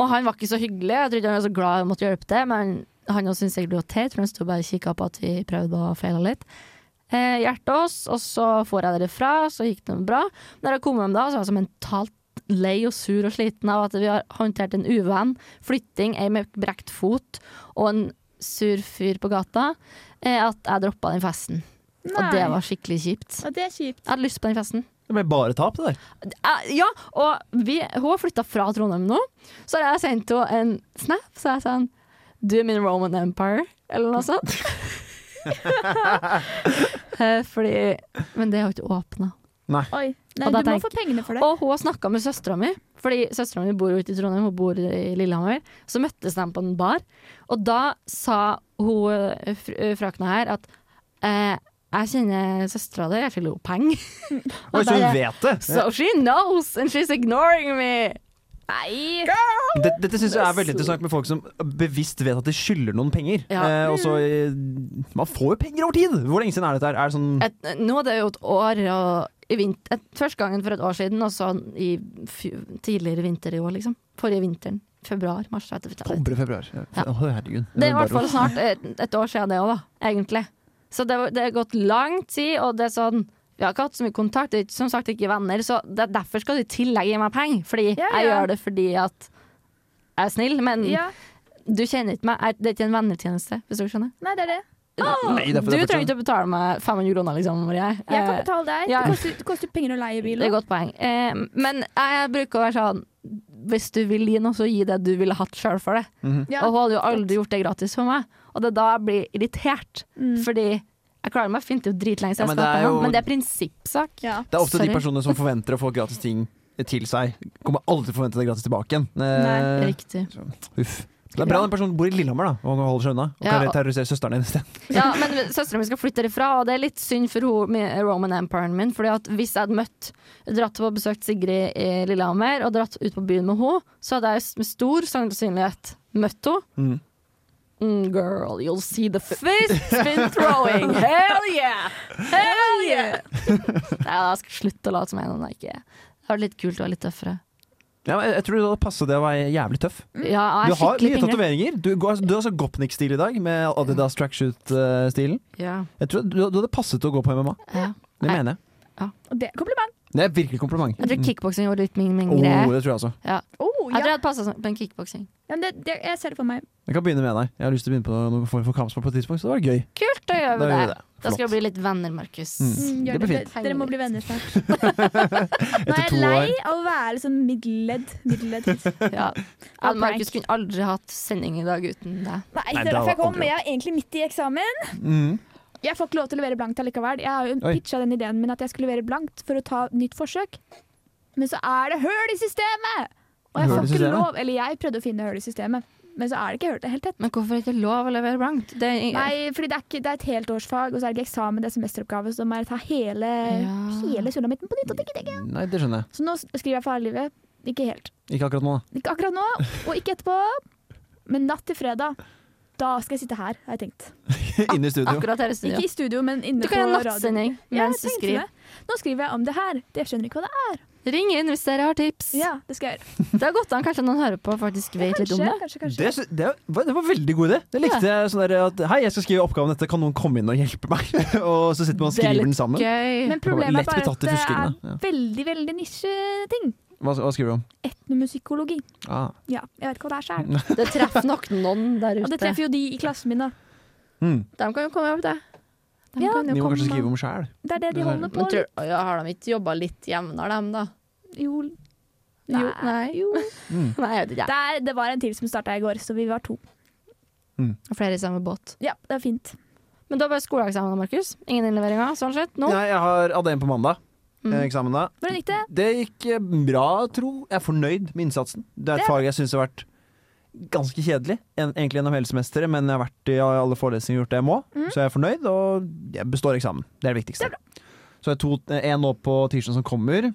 S5: Og han var ikke så hyggelig, jeg trodde han var så glad han måtte hjelpe til, men han også syntes jeg ble teit, for han sto bare og kikka på at vi prøvde og feila litt. Eh, hjertet oss, og så får jeg derifra, så gikk det bra. Når jeg kom hjem da, så var jeg så mentalt lei og sur og sliten av at vi har håndtert en uvenn, flytting, ei med brekt fot og en sur fyr på gata, eh, at jeg droppa den festen. Og det var skikkelig kjipt.
S2: Ja, det er kjipt.
S5: Jeg hadde lyst på den festen.
S3: Det ble bare tap, det der.
S5: Eh, ja, og vi, hun har flytta fra Trondheim nå, så har jeg sendt henne en snap. Så jeg sa sånn Du er min Roman Empire, eller noe sånt. Eh, Fordi Men det har ikke åpna.
S2: Oi. Nei,
S5: Og
S2: du
S5: da
S2: må
S5: tenk-
S2: få pengene for det.
S5: Og hun har snakka med søstera mi, Fordi søstera mi bor jo ikke i Trondheim, hun bor i Lillehammer. Så møttes de på en bar, og da sa hun eh, fr- eh, frakna her at eh, jeg kjenner søstera di, jeg skylder henne penger.
S3: Oi,
S5: Og
S3: så hun
S5: bare, sånn!
S3: vet det!
S5: So she knows, and she's ignoring me.
S2: Nei!
S3: Dette, dette synes jeg er veldig interessant med folk som bevisst vet at de skylder noen penger.
S5: Ja. Mm.
S3: Eh, og så eh, Man får jo penger over tid! Hvor lenge siden er dette her? Er det sånn
S5: et, nå er det jo et år og i vint- et, Første gangen for et år siden, og så i fj- tidligere vinter i år, liksom. Forrige vinteren. Februar, mars. jeg vet ikke.
S3: februar.
S5: Ja.
S3: Å, herregud.
S5: Det er i hvert fall sånn- snart et, et år siden, det òg, da. Egentlig. Så det, var- det har gått lang tid, og det er sånn vi har ikke hatt så mye kontakt, det er ikke- som sagt ikke venner, så det, er derfor skal du i tillegg gi meg penger. Fordi
S2: Ja,
S5: jeg
S2: ja.
S5: gjør det fordi at jeg er snill, men
S2: Ja.
S5: du kjenner ikke meg. Jeg- Det er ikke en vennetjeneste, hvis du skjønner.
S2: Nei, det er det.
S3: Nei, det er
S5: du
S3: for- det er
S5: trenger
S3: fortsatt-
S5: ikke å betale meg 500 kroner, liksom, Marie.
S2: Jeg
S5: Eh,
S2: kan betale deg.
S5: ja.
S2: Det, koster, det koster penger å leie bil.
S5: Det er et
S2: også.
S5: godt poeng. Eh, men jeg bruker å være sånn Hvis du vil gi noe, så gi det du ville hatt sjøl for det.
S3: Mhm.
S2: Ja.
S5: Og hun hadde jo aldri gjort det gratis for meg. Og det er da jeg blir irritert.
S2: Mm.
S5: Fordi jeg klarer meg fint, det er jo dritlenge
S3: Ja,
S5: siden
S3: men
S5: jeg
S3: det er
S5: skapte
S3: jo-
S5: men det er prinsippsak.
S2: Ja.
S3: Det er ofte
S5: Sorry.
S3: de personene som forventer å få gratis ting til seg, kommer aldri til å forvente det gratis tilbake igjen. Eh,
S5: Riktig.
S3: Uff. Det er bra den personen bor i Lillehammer da, og holder seg unna. Og
S5: Ja,
S3: kan
S5: og-
S3: terrorisere søsteren din i stedet.
S5: Ja, men søstera mi skal flytte derifra, og det er litt synd for ho, med Roman Empiren min. Fordi at hvis jeg hadde møtt, dratt på besøkt Sigrid i Lillehammer og dratt ut på byen med henne, så hadde jeg s- med stor sannsynlighet møtt henne.
S3: Mm.
S5: Mm, girl, you'll see the fist's been throwing. Hell yeah! Hell yeah! Nei, da skal jeg slutte å late som jeg er noen jeg ikke er. Det hadde vært litt kult og litt tøffere.
S3: Ja, men jeg, jeg tror det hadde passet det å være jævlig tøff.
S5: Ja, jeg
S3: Du
S5: er
S3: har mye
S5: skikkelig pingle.
S3: tatoveringer. Du, går- du har så Gopnik-stil i dag, med Adidas tracksuit-stilen.
S5: Ja,
S3: Jeg tror du, du hadde passet til å gå på MMA.
S5: ja.
S3: Det
S5: Nei.
S3: mener jeg.
S2: Og det er kompliment.
S3: Det er virkelig kompliment.
S5: Jeg tror kickboksing var litt min, min
S3: Mm.
S5: greie.
S3: Oh, det tror jeg også.
S2: Oh,
S5: Jeg tror jeg
S2: ja.
S5: hadde passa på en kickboksing.
S2: Ja, men det, det, jeg ser det for meg.
S3: Jeg kan begynne med deg. Jeg har lyst til å begynne på noen form for kampsport på et tidspunkt, så det var gøy.
S5: Kult, da
S3: Da
S5: gjør vi
S3: gjør
S5: det.
S3: vi det.
S5: Da skal
S3: Flott.
S5: vi bli litt venner, Markus.
S3: Mm.
S2: Mm,
S3: Det
S2: gjør
S3: blir
S2: det.
S3: fint.
S2: Dere må bli venner snart. Nå
S3: Etter
S2: er
S3: to
S2: jeg lei
S3: år.
S2: av å være sånn middelledd. middelledd.
S5: Ja.
S2: Og
S5: Markus
S2: prank.
S5: kunne aldri hatt sending i dag uten deg.
S2: Nei,
S3: Nei,
S2: det er
S3: det
S2: derfor jeg
S3: var
S2: kom.
S3: aldri
S2: Jeg er egentlig midt i eksamen.
S3: Mm.
S2: Jeg får ikke lov til å levere blankt allikevel. Jeg har jo
S3: Oi.
S2: pitcha den ideen min at jeg skulle levere blankt for å ta et nytt forsøk. Men så er det høl i systemet! Og jeg
S3: Høl i
S2: får ikke
S3: systemet?
S2: lov. Eller jeg prøvde å finne høl i systemet, men så er det ikke høl. Det er helt tett.
S5: Men hvorfor er det ikke lov å levere blankt? Det er,
S2: Nei, fordi det er, ikke, det er et heltårsfag, og så er det ikke eksamen, det er semesteroppgave, så da må jeg ta hele,
S5: Ja.
S2: hele sulamitten på nytt. og tenke, tenke.
S3: Nei, det skjønner jeg.
S2: Så nå s- skriver jeg faglivet. Ikke helt.
S3: Ikke akkurat nå, da.
S2: Ikke akkurat nå, og ikke etterpå. Men natt til fredag, da skal jeg sitte her, har jeg tenkt.
S3: Inne i studio.
S5: akkurat her i studio.
S2: Ikke i studio, men inne
S5: Du
S2: på
S5: kan gjøre
S2: radioen.
S5: nattsending
S2: Ja,
S5: mens du
S2: jeg tenkte
S5: skriver.
S2: det. Nå skriver jeg om det her. Det skjønner ikke hva det er.
S5: Ring inn hvis dere har tips.
S2: Ja, det skal jeg gjøre.
S5: Det er godt an kanskje noen hører på og faktisk vet litt om
S2: Kanskje,
S5: det.
S2: kanskje, kanskje.
S3: Det, sy- det, var, det var veldig god idé. Det likte jeg sånn der at Hei, jeg skal skrive oppgaven dette, kan noen komme inn og hjelpe meg? og så sitter man og
S5: Det er
S3: skriver
S5: litt
S3: den sammen.
S5: Gøy.
S2: Men problemet er
S3: Lett
S2: bare
S3: betatt
S2: at
S3: i
S2: det er
S3: forskingene, ja.
S2: veldig, veldig nisjeting.
S3: Hva, hva skriver du om?
S2: Etnomusikologi.
S3: Ah.
S2: Ja, jeg vet ikke hva det er sjøl.
S5: Det treffer nok noen der
S2: Og det
S5: ute.
S2: treffer jo de i klassen min, da.
S3: Mm.
S5: De kan jo komme opp det. De
S2: Ja.
S5: kan jo
S3: De må
S5: komme-
S3: kanskje skrive om sjæl.
S2: Det er det de
S3: Det er-
S2: holder på
S5: Men tror, ja, har de ikke jobba litt jevnere, dem, da?
S2: Jo.
S5: Jo, nei.
S2: jo.
S3: Mm.
S5: Nei, jeg vet ikke.
S2: Der, det var en til som starta i går, så vi var to.
S5: Flere i samme båt.
S2: Ja, det er fint.
S5: Men da bare skoleeksamen, Markus. Ingen innleveringer, sånn sett. Nå.
S3: Nei, jeg har hadde en på mandag.
S5: Mm.
S3: eh, Eksamen da.
S2: Hvordan gikk det?
S3: Det gikk eh, bra, tro. Jeg er fornøyd med innsatsen. Det er et
S2: Det-
S3: fag jeg syns har vært ganske kjedelig, en, egentlig gjennom hele semesteret, men jeg har vært i alle forelesninger og gjort det jeg må,
S2: Mm.
S3: så jeg er fornøyd, og jeg består eksamen. Det er Mhm. det viktigste.
S2: Det
S3: så jeg har to- eh, en nå på tirsdag som kommer.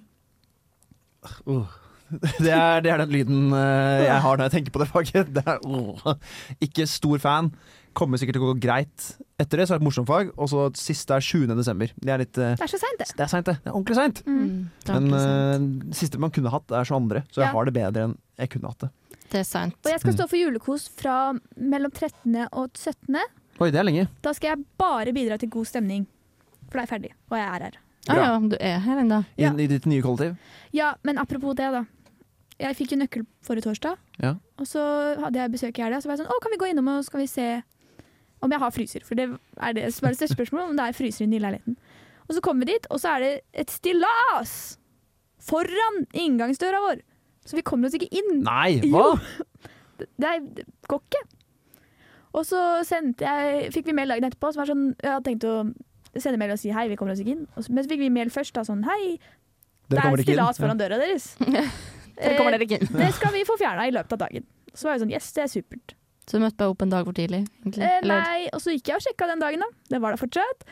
S3: Uh. Det, er, det er den lyden eh, jeg har når jeg tenker på det faget. Det er, uh. Ikke stor fan. Kommer sikkert til å gå greit etter det, så er det et morsomt fag. Og så siste er 20. desember. Det er litt eh,
S2: Det er så seint, det.
S3: Det er seint, det. Det er ordentlig seint.
S2: Mm.
S5: Mm,
S3: Men
S5: takk, sant.
S3: eh, siste man kunne hatt, er 22., så jeg
S2: Ja.
S3: har det bedre enn jeg kunne hatt det.
S5: det er sant.
S2: Og jeg skal stå for julekos fra mellom 13. og 17.
S3: Oi, det er lenge.
S2: Da skal jeg bare bidra til god stemning. For da er jeg ferdig, og jeg er her.
S5: Ah,
S3: Bra.
S5: ja, du er her ennå.
S3: I,
S2: Ja.
S3: I ditt nye kollektiv.
S2: Ja, men apropos det, da. Jeg fikk jo nøkkel forrige torsdag,
S3: Ja.
S2: og så hadde jeg besøk i helga. Så var jeg sånn Å, kan vi gå innom og skal vi se om jeg har fryser? For det er det som er det største spørsmålet, om det er fryser i den nye leiligheten. Og så kommer vi dit, og så er det et stillas foran inngangsdøra vår! Så vi kommer oss ikke inn.
S3: Nei, hva?
S2: Jo. Det er- det går ikke. Og så sendte jeg, fikk vi mail dagen etterpå som var sånn Jeg hadde tenkt å sende mail og si hei, vi kommer oss ikke inn. Og så, men så fikk vi mail først da sånn hei, det
S3: Dere
S2: er
S3: kommer ikke
S2: stillas
S3: inn.
S2: foran døra deres.
S5: Dere kommer dere ikke inn.
S2: Eh, det skal vi få fjerna i løpet av dagen. Så var jeg sånn yes, det er supert.
S5: Så du møtte bare opp en dag for tidlig? egentlig?
S2: Eh,
S5: Mm. Eller-
S2: nei, og så gikk jeg og sjekka den dagen, da. Det var da fortsatt.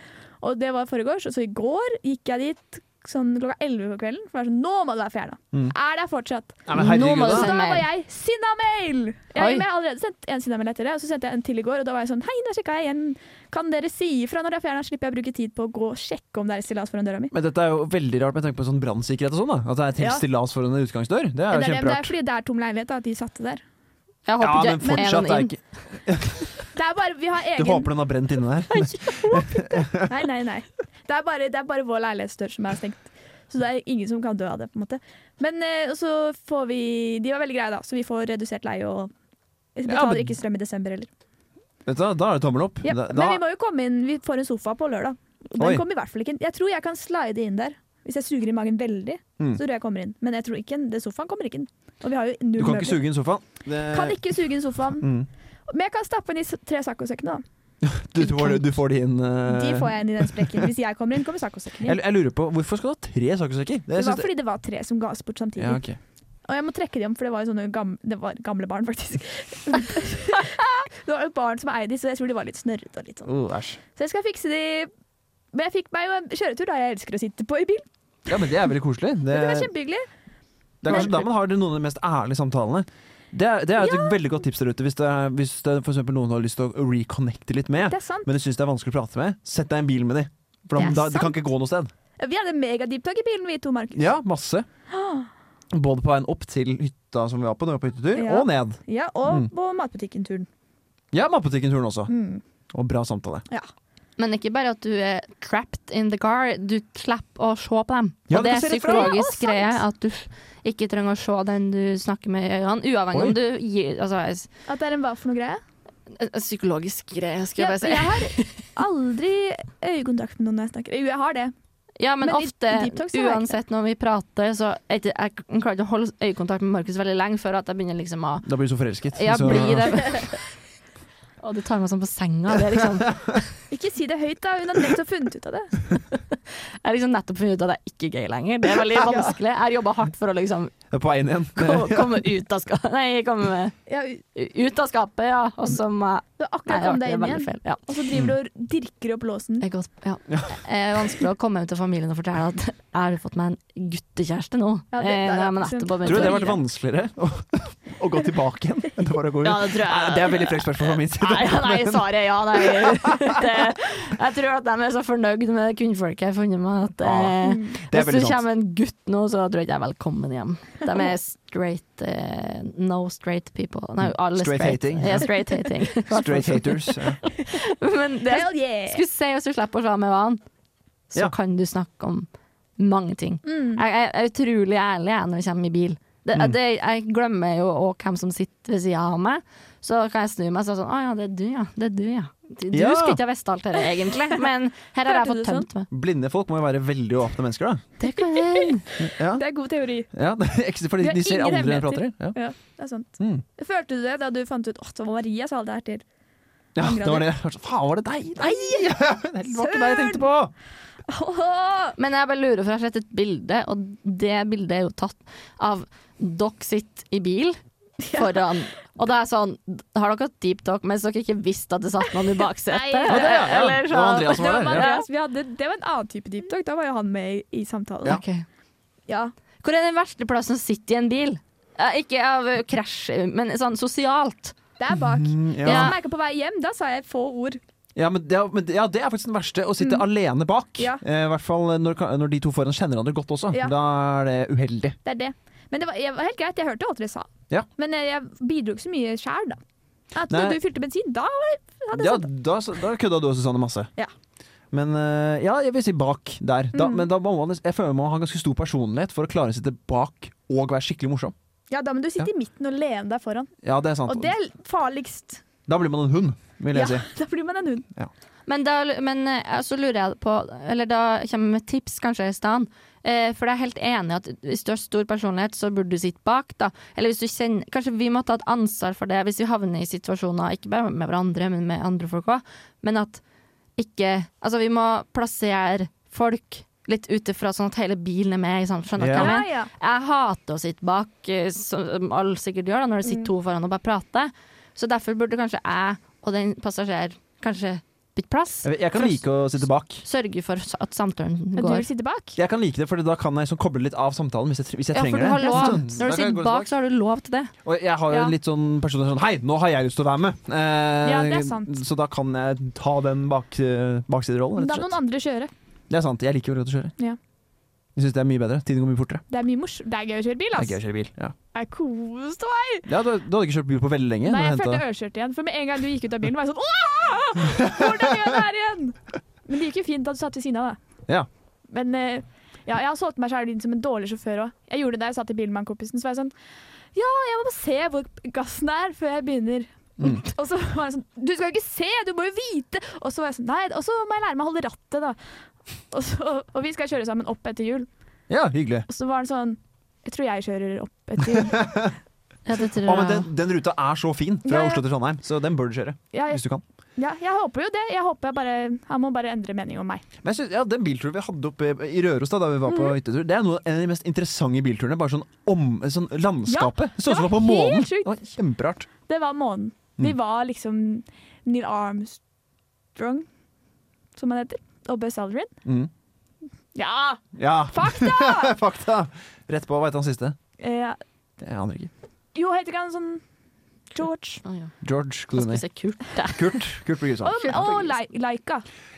S2: Og det var foregårs. Og så i går gikk jeg dit sånn klokka 11 på kvelden. For jeg var sånn nå må det være fjerna.
S3: Mm.
S2: Er det fortsatt?
S3: Ja. Nei, men herregud,
S5: Nå må du
S3: da.
S2: Så
S5: sende
S2: da var
S5: mail.
S2: jeg sinnamail! Jeg,
S5: Oi.
S2: men jeg har allerede sendt en sinnamail etter det, og så sendte jeg en til i går. Og da var jeg sånn Hei, da sjekka jeg igjen. Kan dere si ifra når det er fjerna? Slipper jeg å bruke tid på å gå og sjekke om det er stillas foran døra mi.
S3: Men dette er jo veldig rart med tanke på sånn brannsikkerhet og sånn. da At det er et helt
S2: Ja.
S3: stillas foran en utgangsdør. Det
S2: Det
S3: er
S2: er, det, men
S3: jo
S2: det er
S3: kjemperart.
S2: fordi det er tom leilighet, da, at de satte der.
S3: Ja,
S5: Jeg
S3: men
S5: håper ikke er
S3: fortsatt
S5: noen
S3: er
S5: inn.
S3: ikke
S2: Det er bare Vi har
S3: Du
S2: egen
S3: håper den har brent inne der?
S2: Nei, nei, nei. Det er bare, det er bare vår leilighetsdør som er stengt. Så det er ingen som kan dø av det, på en måte. Men eh, og så får vi De var veldig greie, da, så vi får redusert leie og
S3: Ja,
S2: betaler
S3: men-
S2: ikke strøm i desember heller.
S3: Vet du, hva, da er det tommel opp.
S2: Ja,
S3: Da,
S2: men vi
S3: da,
S2: må jo komme inn Vi får en sofa på lørdag. Og den
S3: Oi.
S2: kommer i hvert fall ikke inn. Jeg tror jeg kan slide inn der. Hvis jeg suger i magen veldig,
S3: Mm.
S2: så tror jeg jeg kommer inn. Men jeg tror ikke den- den sofaen kommer ikke inn. Og vi har jo
S3: du
S2: null
S3: kan ikke
S2: møbler.
S3: suge inn sofaen. Det-
S2: Kan ikke suge inn sofaen.
S3: Mm.
S2: Men jeg kan stappe den i s- tre saccosekkene, da.
S3: Du, får, du får de inn eh,
S2: De får jeg inn i den sprekken. Hvis jeg kommer inn, kommer saccosekken inn.
S3: Jeg, jeg lurer på, Hvorfor skal du ha tre saccosekker?
S2: Det var
S3: synes jeg-
S2: fordi det var tre som ga oss bort samtidig.
S3: ja, ok.
S2: Og jeg må trekke dem, for det var jo sånne gam det var gamle barn, faktisk. det var jo barn som eide de, så jeg tror de var litt snørrete og litt sånn.
S3: Oh, æsj.
S2: Så jeg skal fikse de. Men jeg fikk meg jo en kjøretur, da jeg elsker å sitte på i bil.
S3: Ja, men det er veldig koselig. Det,
S2: Det var kjempehyggelig.
S3: det er kanskje da man har noen av de mest ærlige samtalene. Det er, det er et veldig godt tips der ute hvis det, er- hvis det for eksempel noen har lyst til å reconnecte litt med,
S2: Det er sant.
S3: men du syns det er vanskelig å prate med. Sett deg i en bil med de. For
S5: Det
S3: da,
S5: er
S3: da, de kan ikke gå noe sted.
S2: Vi hadde megadeep talk i bilen, vi to, Markus.
S3: Ja, masse. Både på veien opp til hytta som vi var på, når vi var på hyttetur,
S2: Ja.
S3: og ned.
S2: Ja, og
S3: Mm.
S2: på matbutikken-turen.
S3: Ja, matbutikken-turen også.
S2: Mm.
S3: Og bra samtale.
S5: Men ikke bare at du er trapped in the car, du klapper og ser på dem.
S3: Ja,
S5: og
S3: du
S5: det
S3: kan se
S5: er
S3: litt fra dem.
S5: psykologisk
S2: Ja,
S5: greie at du ikke trenger å se den du snakker med i øynene, uavhengig
S3: Oi.
S5: om du gir Altså, jeg s-
S2: At det er en hva for noe greie.
S5: en- en psykologisk greie, skal jeg
S2: Ja,
S5: bare
S2: for
S5: si.
S2: jeg har aldri øyekontakt med noen når jeg snakker. Jo, jeg har det.
S5: Ja, men,
S2: Men i-
S5: ofte,
S2: i deep talk så har jeg ikke
S5: uansett når vi prater, så er ikke- Jeg k- klarer ikke å holde øyekontakt med Markus veldig lenge før at jeg begynner liksom å
S3: Da blir du så forelsket.
S5: Ja,
S3: så,
S5: bli det. Og du tar meg sånn på senga. Det er liksom,
S2: Ikke si det høyt, da. Hun har nettopp funnet ut av det.
S5: jeg har liksom nettopp funnet ut at det er ikke gøy lenger. Det er veldig vanskelig. Jeg har jobba hardt for å liksom
S3: Det er på veien igjen.
S5: ko- komme ut av skapet. Nei, komme
S2: Ja, du
S5: ut av skapet, ja. Og så må jeg
S2: har
S5: Nei,
S2: akkurat kommet
S5: det
S2: deg
S5: er
S2: inn
S5: veldig
S2: igjen.
S5: feil. Ja.
S2: Og så driver du og dirker opp låsen.
S5: Det er godt, ja. Det er vanskelig å komme hjem til familien og fortelle at jeg har fått meg en guttekjæreste nå.
S2: Ja, det-
S5: Eh,
S2: det er
S5: nei, men
S2: liksom-
S5: etterpå
S3: Tror du det har
S5: begynte jeg å
S3: vært
S5: lire.
S3: vanskeligere å, å gå tilbake igjen enn det var å gå ut?
S5: Ja, det tror jeg.
S3: Nei, det er veldig frekt spørsmål fra min side.
S5: Nei, nei, svaret er ja. Nei. Det, jeg tror at de er så fornøyd med det kvinnfolket jeg har funnet meg, at eh,
S2: Mm.
S3: Det er
S5: hvis
S3: veldig
S5: det
S3: sant.
S5: kommer en gutt nå, så tror jeg ikke jeg er velkommen hjem. De er straight eh, No straight people. Nei, alle
S3: Straight
S5: straight.
S3: hating.
S5: Ja, straight hating.
S3: Straight haters. Ja.
S5: Men det jeg
S2: Hell yeah!
S5: skulle si, hvis du slipper å slå med vanen, så
S3: Ja.
S5: kan du snakke om mange ting.
S2: Mm.
S5: Jeg, jeg er utrolig ærlig jeg, når jeg kommer i bil. Det,
S3: Mm.
S5: det, jeg glemmer jo også hvem som sitter ved sida av meg. Så kan jeg snu meg og si sånn Å ja, det er du, ja. Det er du, ja. Du, du
S3: Ja.
S5: skulle ikke ha visst alt dette, egentlig, men her har jeg
S2: Hørte
S5: fått
S2: du sånn?
S5: tømt meg.
S3: Blinde folk må jo være veldig åpne mennesker, da.
S5: Det kan jeg
S3: Ja,
S2: Det er god teori.
S3: ja det er ekstra fordi
S2: Vi har
S3: de ser
S2: ingen
S3: andre enn de prater.
S2: hemmeligheter.
S3: Ja.
S2: Ja, det er sant.
S3: Mm.
S2: Følte du det da du fant ut at Maria sa alt det her til?
S3: ja,
S2: Angrer
S3: det var det. Jeg var sånn, Faen, var det deg? Nei! Det var ikke deg jeg tenkte på!
S2: Åh!
S5: Men jeg bare lurer, for jeg har sett et bilde, og det bildet er jo tatt av dere sitter i bil foran Og det er sånn Har dere hatt deep talk mens dere ikke visste at det satt noen i
S2: Nei,
S5: baksetet?
S2: ja.
S3: Ja, det, ja. Ja,
S5: Eller
S3: det var
S5: sånn-
S3: Andreas som
S2: Det
S3: var
S2: var,
S3: der. Ja.
S2: Andreas, vi hadde, det var en annen type deep talk. Da var jo han med i, i samtalen.
S3: Ja.
S5: Ok. Hvor er den verste plassen å sitte i en bil? Eh, Ikke av eh, krasj, men sånn sosialt.
S2: Der bak.
S3: Mm,
S2: Jeg
S3: Ja.
S2: merket på vei hjem, da sa jeg få ord.
S3: Ja, men det, er- men det- ja, det er faktisk den verste. Å sitte alene bak.
S2: Mm. Ja.
S3: Eh, I hvert fall når, ka- når de to foran kjenner hverandre godt også.
S2: Ja.
S3: Da er det uheldig.
S2: Det er det. Men det var, jeg var helt greit, jeg hørte alt dere sa.
S3: Ja.
S2: Men jeg, jeg bidro ikke så mye sjæl, da. At
S3: Nei.
S2: når du fylte bensin, da var det, hadde jeg
S3: Ja,
S2: sånn.
S3: da, da kødda du og Susanne masse.
S2: Ja.
S3: Men eh, ja, jeg vil si bak der. Da,
S2: Mm.
S3: Men da må man, jeg føler man må ha ganske stor personlighet for å klare å sitte bak og være skikkelig morsom.
S2: Ja, da må du sitte i midten og lene deg foran.
S3: Ja, det er sant.
S2: Og det er farligst.
S3: Da blir man en hund, vil jeg
S2: Ja,
S3: si.
S2: da blir man en hund.
S5: Men, da, men eh, så lurer jeg på Eller da kommer jeg med tips, kanskje, i stedet. Eh, for jeg er helt enig i at hvis du har stor personlighet, så burde du sitte bak. da Eller hvis du kjenner Kanskje vi må ta et ansvar for det hvis vi havner i situasjoner, ikke bare med hverandre, men med andre folk òg. Men at ikke Altså, vi må plassere folk litt ut ifra, sånn at hele bilen er med. i samme- Skjønner du hva
S3: Ja.
S5: jeg
S2: Ja,
S5: mener?
S2: ja.
S5: Jeg hater å sitte bak, eh, som alle sikkert gjør da, når det sitter to foran og bare prater. Så derfor burde kanskje jeg og den passasjer kanskje bytte plass.
S3: Jeg, jeg kan
S5: For å
S3: like å sitte bak.
S5: Sørge for s- at samtalen
S2: Men Du vil
S5: går.
S2: sitte bak?
S3: Jeg kan like det, for da kan jeg sånn koble litt av samtalen hvis jeg, tre- hvis jeg
S5: Ja, for
S3: trenger
S5: du har
S3: det.
S5: lov.
S3: Sånn, da kan
S5: Når du
S3: jeg gå
S5: sitter bak, så har du lov til det.
S3: Og jeg har jo
S2: Ja.
S3: litt sånn personer sånn Hei, nå har jeg lyst til å være med! Eh,
S2: Ja, det er sant.
S3: Så da kan jeg ta den bak, eh, baksiderollen,
S2: Men
S3: rett
S2: da må
S3: og slett.
S2: noen andre kjøre.
S3: Det er sant. Jeg liker jo godt å kjøre.
S2: Ja.
S3: Jeg syns det er mye bedre. Tiden går mye fortere.
S2: Det er mye mors Det er gøy å kjøre bil,
S3: Det er
S2: ass.
S3: gøy å kjøre bil. Ja.
S2: Jeg koste meg.
S3: Ja, du, du hadde ikke kjørt bil på veldig
S2: Nei,
S3: lenge? når
S2: jeg
S3: hentet-
S2: følte øreskjørt igjen. For med en gang du gikk ut av bilen, var jeg sånn Åh! Hvordan gjør jeg det her igjen? Men det gikk jo fint at du satt ved siden av, da.
S3: Ja.
S2: Men eh, ja, jeg har solgt meg sjæl inn som en dårlig sjåfør òg. Jeg gjorde det da jeg satt i bilen med han kompisen. Så var jeg sånn Ja, jeg må bare se hvor gassen er før jeg begynner.
S3: Mm.
S2: Og så var jeg sånn Du skal jo ikke se, du må jo vite! Og så var jeg sånn Nei, og så må jeg lære meg å holde rattet, da. Og, så, og vi skal kjøre sammen opp etter jul.
S3: Ja, hyggelig.
S2: Og så var han sånn Jeg tror jeg kjører opp etter jul.
S5: Ja, det tror
S3: Å, men
S5: jeg.
S3: den, den ruta er så fin fra
S2: Ja, ja.
S3: Oslo til Trondheim, så den bør du kjøre
S2: Ja, jeg
S3: hvis du kan.
S2: Ja, jeg håper jo det. Jeg håper jeg bare, Han må bare endre mening om meg.
S3: Men jeg synes, ja, Den bilturen vi hadde oppe i- i Røros da, da vi var på
S5: Mm.
S3: hyttetur, det er noe, en av de mest interessante bilturene. Bare sånn, om, sånn landskapet. det så ut som
S2: det
S3: det var på
S2: var
S3: månen.
S2: helt
S3: Det var kjemperart.
S2: Det var månen. Vi
S3: Mm.
S2: var liksom Neil Armstrong, som han heter, og Buzz Aldrin.
S3: Mm.
S2: Ja!
S3: Ja,
S2: Fakta!
S3: fakta! Rett på, hva heter han siste?
S2: Eh,
S3: Det aner jeg ikke.
S2: jo, heter ikke han sånn George?
S5: Å ja.
S3: George
S5: Han
S3: Clooney.
S5: spiser kurt, det.
S3: Kurt, Kurt Bryggesson.
S2: Og, og Lai- Laika.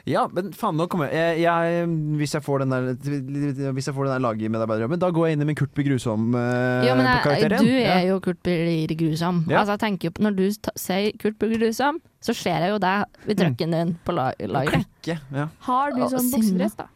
S3: Ja, men faen, nå kommer jeg, jeg, hvis, jeg får den der, hvis jeg får den der lagmedarbeiderjobben, da går jeg inn i min Kurt Bygrusom eh,
S5: Ja, men jeg,
S3: karakter
S5: du
S3: igjen.
S5: er jo Kurt Blir Grusom.
S3: Ja.
S5: Altså, jeg tenker, jo på- når du ta, sier Kurt Blir Grusom, så ser jeg jo deg
S3: Mm.
S5: ved trucken din på la- lageret.
S3: Klikke, ja.
S2: Har du
S5: Og
S2: sånn
S5: sinne.
S2: boksedress, da?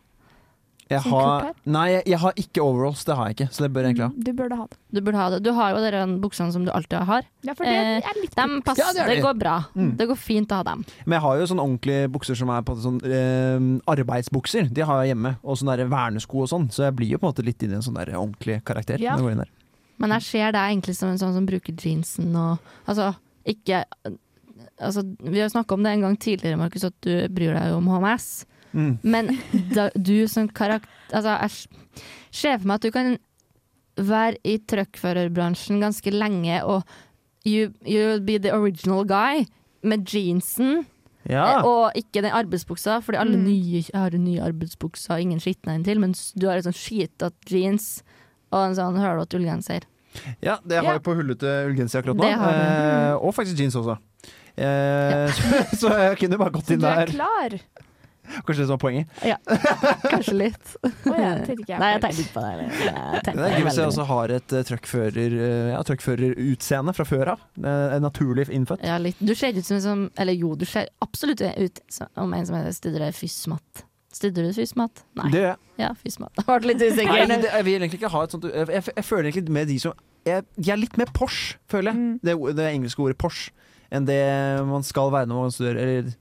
S3: Jeg
S2: Som
S3: har,
S2: Kurt
S3: nei, jeg, jeg har ikke overalls, det har jeg ikke, så det bør jeg egentlig ha.
S2: Du burde ha det.
S5: Du burde ha det. Du har jo de der buksene som du alltid har.
S2: Ja, for det
S5: Eh,
S2: er litt
S5: Dem passer,
S3: Ja, det er
S5: det,
S3: de.
S5: går bra.
S3: Mm.
S5: Det går fint å ha dem.
S3: Men jeg har jo sånne ordentlige bukser som er på en måte sånn eh, arbeidsbukser, de har jeg hjemme, og sånne der vernesko og sånn, så jeg blir jo på en måte litt inn i en sånn der ordentlig karakter
S2: Ja.
S3: når jeg går inn der.
S5: Men jeg ser deg egentlig som en sånn som bruker jeansen og Altså, ikke Altså, vi har jo snakka om det en gang tidligere, Markus, at du bryr deg jo om HMS.
S3: Mm.
S5: Men da, du som karakter Altså, jeg s- ser for meg at du kan være i truckførerbransjen ganske lenge, og you, you'll be the original guy med jeansen
S3: Ja.
S5: eh, og ikke den arbeidsbuksa, fordi alle
S2: Mm.
S5: nye har nye arbeidsbukser, ingen skitne inntil, mens du har en sånn skitete jeans og en sånn hølete ullgenser.
S3: Ja, det har
S2: Ja.
S3: jeg på hullete ullgenser akkurat nå.
S5: Det har du.
S3: Eh, og faktisk jeans også. Eh, så, så jeg kunne bare gått
S2: Du
S3: inn
S2: er
S3: der.
S2: klar!
S3: Kanskje det som var poenget.
S5: Kanskje litt.
S2: Å ja, det tenkte ikke jeg
S5: Nei, jeg
S2: på.
S5: tenkte ikke på det. Jeg
S3: Det
S5: tenkte
S3: er gøy hvis jeg
S5: veldig-
S3: også har et uh, truckfører, eh, ja, truckførerutseende fra før av. Eh, en naturlig innfødt.
S5: Ja, litt. Du ser ut som en som Eller jo, du ser absolutt ut som en som heter- studerer fysmat. Studerer du fysmat? Nei.
S3: Det gjør jeg.
S5: Ja, fysmat. Jeg ble litt
S3: Nei,
S5: usikker.
S3: det, jeg vil egentlig ikke ha et sånt Jeg, jeg, jeg føler egentlig med de som jeg, jeg er litt mer Porsche, føler jeg.
S2: Mm.
S3: Det, ord- det engelske ordet Porsche. Enn det man skal være når man studerer. Eller,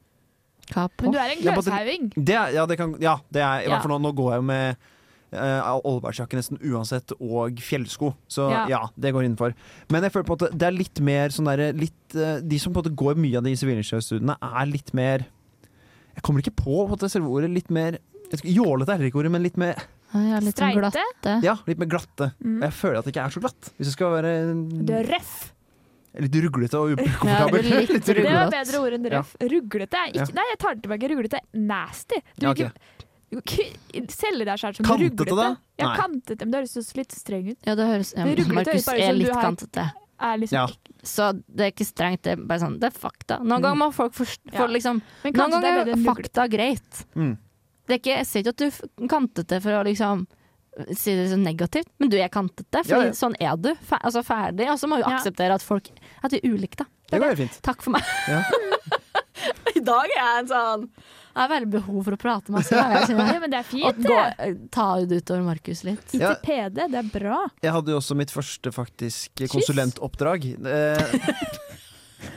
S5: Hva på?
S2: Men du er en
S3: Ja, bare-
S2: kløshauging.
S3: det, er- ja, det kan Ja, det er i
S5: Ja.
S3: hvert fall nå. Nå går jeg jo med uh, Olbergsjakke nesten uansett, og fjellsko. Så ja.
S2: Ja.
S3: det går innenfor. Men jeg føler på en måte det er litt mer sånn derre litt eh, De som på en måte går mye av de sivilingeniørstudiene, er litt mer Jeg kommer ikke på, på en måte, selve ordet. Litt mer jeg vet ikke, Jålete er heller ikke ordet, men litt mer,
S5: Ja, jeg er litt sånn glatt.
S2: Streite.
S3: ja, litt mer glatte.
S2: Mm.
S3: Og Jeg føler at jeg ikke er så glatt, hvis jeg skal være
S2: Du er røff.
S3: litt ruglete og
S5: Ja, du er
S3: ukomfortabel.
S5: litt
S2: Det
S5: ruglete.
S2: var bedre ord enn røff. Ruglete er ikke
S3: Ja.
S2: Nei, jeg tar det tilbake. Ruglete er nasty. Du
S3: Ja,
S2: vil ikke du vil ikke selge deg selv som
S3: Kantete,
S2: ruglete.
S3: da?
S2: Ja,
S3: Nei.
S2: kantete. Men du høres jo litt streng ut.
S5: Ja, det høres ja,
S2: Det ruglete høres
S5: Markus
S2: bare ut
S5: er
S2: som du
S5: litt
S2: har-
S5: kantete.
S2: Er liksom,
S3: Ja.
S5: Så det er ikke strengt, det er bare sånn Det er fakta. Noen ganger må folk forst-
S2: Mm. Ja.
S5: få liksom
S2: Men
S5: Noen
S2: kanskje det er bedre
S5: ganger er
S2: enn ruglete.
S5: fakta greit.
S3: Mm.
S5: Det er ikke, jeg sier ikke at du er kantete for å liksom si det så negativt, men du er kantete, for
S3: Ja, ja.
S5: sånn er du. Fe altså ferdig. Og så må vi
S2: Ja.
S5: akseptere at folk At vi er ulike, da.
S3: Det går helt fint.
S5: Takk for meg.
S3: Ja.
S5: I dag er jeg en sånn Jeg har veldig behov for å prate masse. Jeg kjenner.
S2: Ja, men det er
S5: Og
S2: fint,
S5: gå, eh,
S2: det.
S5: ta det utover Markus litt.
S3: Ja.
S2: ITPD, det er bra.
S3: Jeg hadde jo også mitt første faktisk konsulentoppdrag. Eh,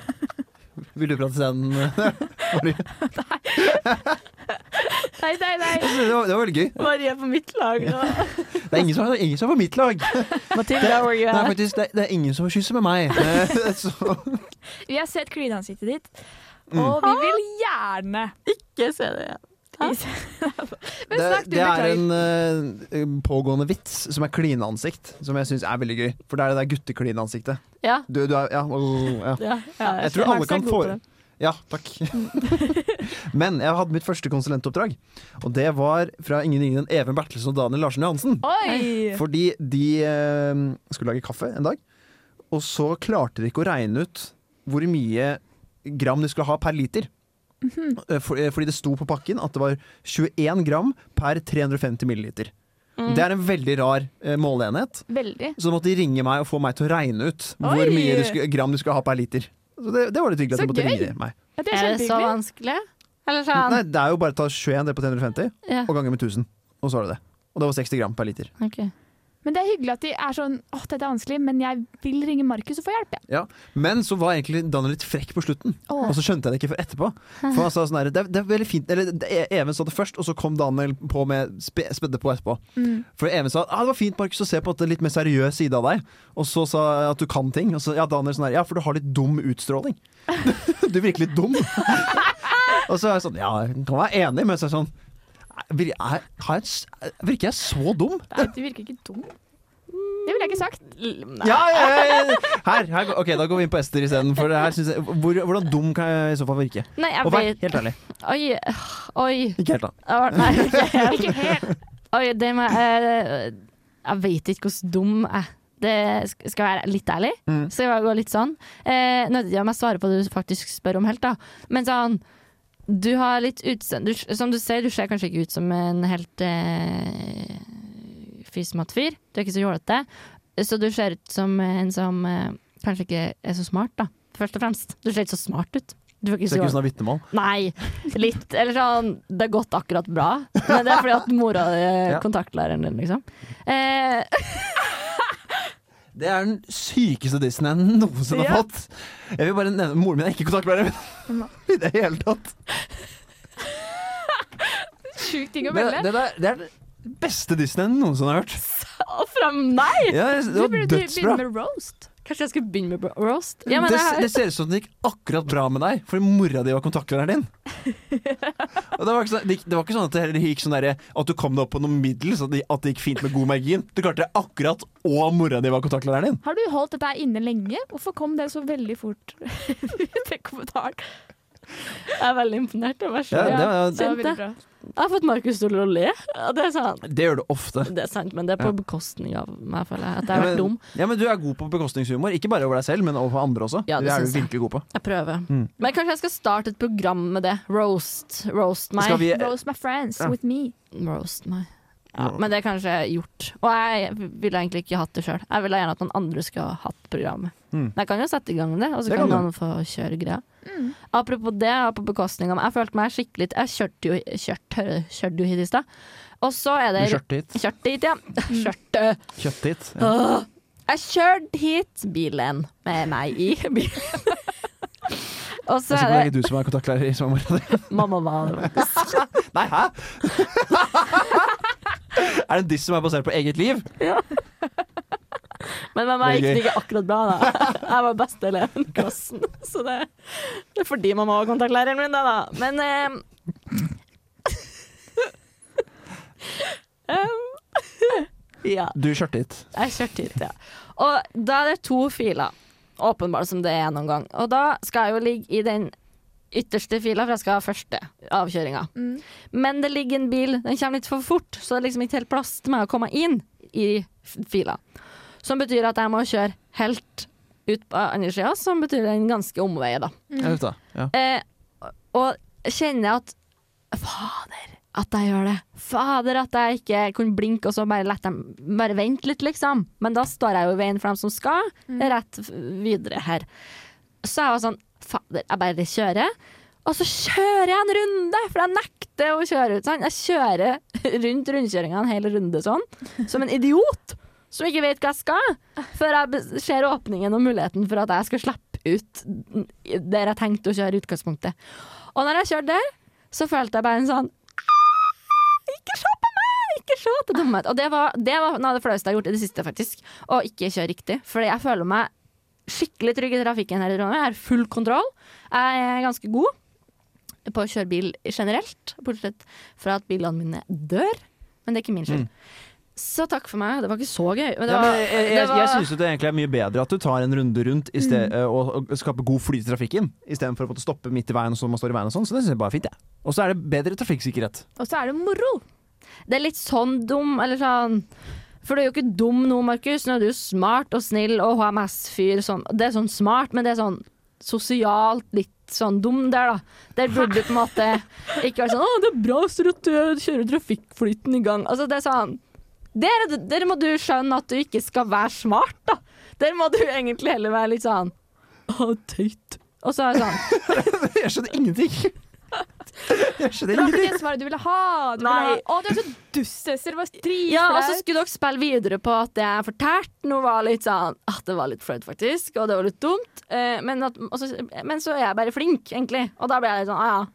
S3: vil du prate sen? Marie?
S2: Nei, nei, nei.
S3: altså, det, var, det var veldig gøy.
S5: Marie er på mitt lag nå.
S3: Det er ingen som, det er ingen som er på mitt lag.
S5: Matilda, hvor
S3: Det
S5: you
S3: er,
S5: at?
S3: faktisk, det, det er ingen som kysser med meg. Eh, så,
S2: Vi har sett klineansiktet ditt,
S3: Mm.
S2: og vi vil gjerne
S5: Ikke se det igjen. Hæ?
S2: Men
S3: det,
S2: snakk, du
S3: det er
S2: beklager.
S3: en eh, pågående vits som er klineansikt, som jeg syns er veldig gøy. For det er det der gutteklineansiktet.
S5: Ja.
S3: Du, du er, ja, åh, ja.
S5: ja, ja.
S3: Jeg tror alle
S2: Max er
S3: kan
S2: god
S3: få
S2: på det.
S3: Ja, takk. Men jeg hadde mitt første konsulentoppdrag, og det var fra ingen ingen enn Even Bertelsen og Daniel Larsen Johansen.
S2: Oi!
S3: Fordi de eh, skulle lage kaffe en dag, og så klarte de ikke å regne ut hvor mye gram de skulle ha per liter. Eh, for- eh, Fordi det sto på pakken at det var 21 gram per 350 milliliter.
S5: Mm.
S3: Det er en veldig rar eh, måleenhet.
S2: Veldig.
S3: Så da måtte de ringe meg og få meg til å regne ut hvor
S2: Oi!
S3: mye de skulle, gram de skulle ha per liter. Så det, det var litt hyggelig
S2: Så
S3: at de måtte
S2: gøy!
S3: ringe meg.
S2: Ja, det er
S5: Er det så
S2: kjempehyggelig.
S5: vanskelig? Eller sånn?
S3: Nei, det er jo bare å ta 21 delt på 350
S5: Ja,
S3: og gange med 1000. Og så har du det. Og det var 60 gram per liter.
S5: ok.
S2: Men det er hyggelig at de er sånn åh, dette er vanskelig, men jeg vil ringe Markus og få hjelp, jeg.
S3: Men så var egentlig Daniel litt frekk på slutten,
S2: Åh.
S3: og så skjønte jeg det ikke før etterpå. For han sa sånn her, det, er- det er veldig fint Eller det, Even sa det først, og så kom Daniel på med spe, spedde på etterpå.
S2: Mm.
S3: For Even sa ah, det var fint Markus, å se på en måte litt mer seriøs side av deg. Og så sa jeg at du kan ting. Og så ja, Daniel sånn her, ja, for du har litt dum utstråling. du virker litt dum. Og så er jeg sånn Ja, jeg kan være enig, men så er jeg sånn "Vir- er- har jeg, s- Virker jeg så dum?
S2: Nei, du virker ikke dum. Det ville jeg ikke sagt.
S3: Ja, ja, ja, ja. Her, her, går- ok, da går vi inn på Ester isteden. For det her synes jeg hvor, Hvordan dum kan jeg i så fall virke?
S5: Nei, jeg
S3: Og vær
S5: blir
S3: helt ærlig.
S5: Oi. Oi.
S3: Ikke helt, da.
S5: Å, Nei, ikke helt.
S2: Ikke helt.
S5: Oi, det må jeg eh, Jeg vet ikke hvordan dum jeg det sk- skal jeg være litt ærlig.
S3: Mm.
S5: Skal jeg gå litt sånn? Eh, Nå vet jeg ikke om jeg svarer på det du faktisk spør om helt, da. Men sånn Du har litt utseende du, Som du ser, du ser kanskje ikke ut som en helt eh, fismat fyr. Du er ikke så jålete. Så du ser ut som en som eh, kanskje ikke er så smart, da. Først og fremst. Du ser ikke så smart ut. Du er ikke
S3: Ser
S5: så
S3: ikke ut
S5: jålete.
S3: som det er vitnemål.
S5: Nei, litt. Eller sånn Det har gått akkurat bra. Men det er fordi at mora di er
S3: Ja.
S5: kontaktlæreren din, liksom. Eh,
S3: Det er den sykeste dissen jeg noensinne
S2: Ja.
S3: har fått. Jeg vil bare nevne Moren min er ikke kontaktlærer min. i det hele tatt.
S2: Sjukt ting
S3: Det,
S2: å melde.
S3: det, der- det er den beste dissen jeg noensinne har hørt.
S5: og fram Nei!
S3: Ja,
S2: Du
S3: det var
S2: burde begynne
S3: dødsbra.
S2: med roast.
S5: Kanskje jeg skulle begynne med bro- roast? Ja, men
S3: Det,
S5: jeg,
S3: det ser ut som det gikk akkurat bra med deg, fordi mora di var kontaktlæreren din. Og det, var ikke sånn, det, gikk- det var ikke sånn at det heller gikk sånn derre at du kom deg opp på noe middel, så at det, at det gikk fint med god margin. Du klarte det akkurat, og mora di var kontaktlæreren din.
S2: Har du holdt dette her inne lenge? Hvorfor kom det så veldig fort? Den kommentaren.
S5: jeg er veldig imponert. Jeg,
S3: Ja, det,
S2: Det
S3: var-
S2: var
S5: Kjente.
S2: veldig bra.
S5: jeg har fått Markus til å le. Og det er sant.
S3: det gjør du ofte.
S5: Det er sant, men det er på bekostning av meg, føler jeg. At jeg har
S3: men-
S5: vært dum.
S3: Ja, men du er god på bekostningshumor. Ikke bare over deg selv, men overfor andre også.
S5: Ja, det
S3: det, er
S5: synes
S3: du
S5: jeg.
S3: virkelig god på.
S5: Jeg prøver.
S3: Mm.
S5: Men kanskje jeg skal starte et program med det. Roast. Roast meg.
S3: Skal vi,
S2: Roast my friends
S3: Ja.
S2: with me.
S5: Roast meg.
S3: Ja.
S5: Ja, men det er kanskje gjort. Og jeg ville egentlig ikke hatt det sjøl. Jeg ville gjerne at noen andre skulle ha hatt programmet.
S3: Mm.
S5: Men jeg kan jo sette i gang det, og så
S3: Det
S5: kan
S3: kan du.
S5: noen få kjøre greia. Apropos det, og på bekostning av meg. Jeg følte meg skikkelig Jeg kjørte jo, kjørt, kjørte jo hit i stad. Og så er
S3: du
S5: det
S3: kjørte hit.
S5: Kjørte hit, ja. Kjørte.
S3: Kjøtt hit. Ja.
S5: Åh. Jeg kjørte hit bilen med meg i bilen. og så
S3: Jeg er sikker på det er
S5: er
S3: ikke du som er kontaktlærer i som er mora di.
S5: det Mamma var
S3: Nei, hæ?! er det en diss som er basert på eget liv?
S5: Men med
S3: Det
S5: meg
S3: er
S5: gikk det ikke akkurat bra, da. Jeg var beste eleven i klassen. Så det, det er fordi mamma var kontaktlæreren min, det, da. Men ehm, eh, em, Ehm, Ja.
S3: Du kjørte hit.
S5: Jeg kjørte hit, ja. Og da er det to filer, åpenbart som det er noen gang. Og da skal jeg jo ligge i den ytterste fila, for jeg skal ha første avkjøringa.
S2: Mm.
S5: Men det ligger en bil, den kommer litt for fort, så det er liksom ikke helt plass til meg å komme inn i f- fila. Som betyr at jeg må kjøre helt ut på andre sida, som betyr en ganske omvei, da.
S3: Jeg vet da. Ja.
S5: Eh, og kjenner jeg at Fader, at jeg gjør det. Fader, at jeg ikke kunne blinke og så bare lette dem Bare vente litt, liksom. Men da står jeg jo i veien for dem som skal, rett f- videre her. Så jeg var sånn Fader, jeg bare kjører. Og så kjører jeg en runde, for jeg nekter å kjøre ut. Sånn. Jeg kjører rundt rundkjøringa en hel runde sånn, som en idiot som ikke vet hva jeg skal, før jeg bes- ser åpningen og muligheten for at jeg skal slippe ut der jeg tenkte å kjøre i utgangspunktet. Og når jeg kjørte der, så følte jeg bare en sånn Ikke se på meg! Ikke se til dumhet. Og det var, det var noe av det flaueste jeg har gjort i det siste, faktisk. Å ikke kjøre riktig. Fordi jeg føler meg skikkelig trygg i trafikken her i Trondheim. Jeg har full kontroll. Jeg er ganske god på å kjøre bil generelt, bortsett fra at bilene mine dør. Men det er ikke min skyld. Så takk for meg. Det var ikke så gøy. Men det
S3: Mm. Ja,
S5: var,
S3: men jeg
S5: det
S3: jeg,
S5: var Mm.
S3: jeg syns jo det egentlig er mye bedre at du tar en runde rundt i sted, eh, og, og skaper god flyt i trafikken, istedenfor å måtte stoppe midt i veien og så man står i veien og sånn. Så det syns jeg bare er fint, jeg. Og så er det bedre trafikksikkerhet.
S2: Og så er det moro.
S5: Det er litt sånn dum, eller sånn For du er jo ikke dum nå, Markus. Nå er du jo smart og snill og HMS-fyr. Sånn. Det er sånn smart, men det er sånn sosialt litt sånn dum der, da. Der burde du på en måte ikke være sånn 'Å, det er bra, så at du kjører trafikkflyten i gang'. Altså, det er sånn der, er det- der må du skjønne at du ikke skal være smart, da. Der må du egentlig heller være litt sånn 'Å, teit'. Og så er det sånn
S3: Jeg skjønner ingenting! Jeg
S2: Det
S3: skjønner
S2: var ikke
S3: ingenting.
S2: det svaret du ville ha. Du
S5: Nei.
S2: ville ha. Å, du er så dust, Ester. Det var dritflaut.
S5: Ja, og så skulle dere spille videre på at det jeg fortalte nå var litt sånn ah, Det var litt flaut, faktisk, og det var litt dumt. Eh, men, at, og så- men så er jeg bare flink, egentlig. Og da ble jeg litt sånn ah, ja.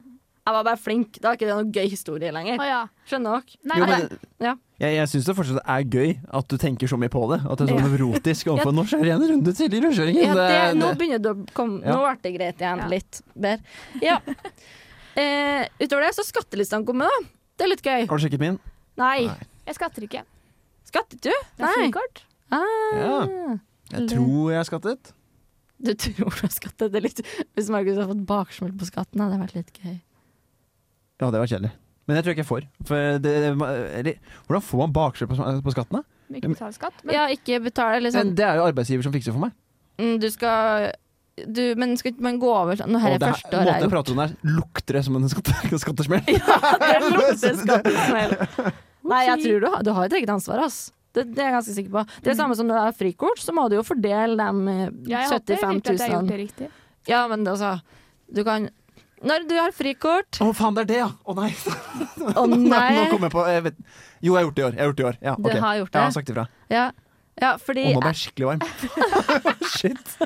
S5: Jeg var bare flink. Da er ikke det noen gøy historie lenger.
S2: Å, ja.
S5: Skjønner dere?
S2: Nei,
S3: Jo,
S2: nei.
S3: men
S5: Ja.
S3: jeg, jeg syns det fortsatt er gøy at du tenker så mye på det. At det er så
S5: Ja.
S3: nevrotisk overfor Nå kjører jeg en runde til i rundkjøringen!
S5: Ja, det, nå
S3: det-
S5: begynner det å komme
S3: Ja.
S5: Nå ble det greit igjen.
S2: Ja.
S5: Litt bedre. Ja. Eh, utover det så skattelistene kommer, da. Det er litt gøy.
S3: Har du sjekket min?
S5: Nei.
S3: Nei.
S2: Jeg skatter ikke.
S5: Skattet du? Ah.
S2: Jeg har frikort.
S3: Ja. Jeg
S5: Eller-
S3: tror jeg har skattet.
S5: Du tror du har skattet det litt Hvis Markus har fått baksmell på skatten, hadde det vært litt gøy.
S3: Ja, det var kjedelig. Men jeg tror ikke jeg får. For det, eller, hvordan får man bakskjell på, på skatten? da?
S2: Men Ikke betaler skatt. Men
S5: ja, ikke betale eller sånn.
S3: Men Det er jo arbeidsgiver som fikser for meg.
S5: Mm, Du skal du, Men skal ikke man gå over sånn Nå her
S3: Og
S5: er
S3: det her-
S5: første året
S3: måten jeg
S5: her.
S3: prater om det her, lukter det som en skatte, skattesmell.
S5: Det lukter skattesmell. Nei, jeg tror du har, du har et eget ansvar, ass. Det, det er jeg ganske sikker på. Det er det samme som når du har frikort, så må du jo fordele de eh,
S2: Mm. ja, jeg håper
S5: 75
S2: virkelig at jeg har
S5: 000.
S2: gjort det riktig.
S5: Ja, men det, altså Du kan Når du har frikort
S3: Å, faen, det er det, ja! Å nei!
S5: Å
S3: Nå
S5: nei!
S3: kommer jeg på jeg vet, Jo, jeg har gjort det i år. Jeg har gjort det i år. Ja,
S5: Du
S3: ok.
S5: har gjort
S3: Jeg har
S5: det.
S3: sagt ifra.
S5: Ja, ja fordi
S3: Å, nå ble jeg skikkelig varm. Shit.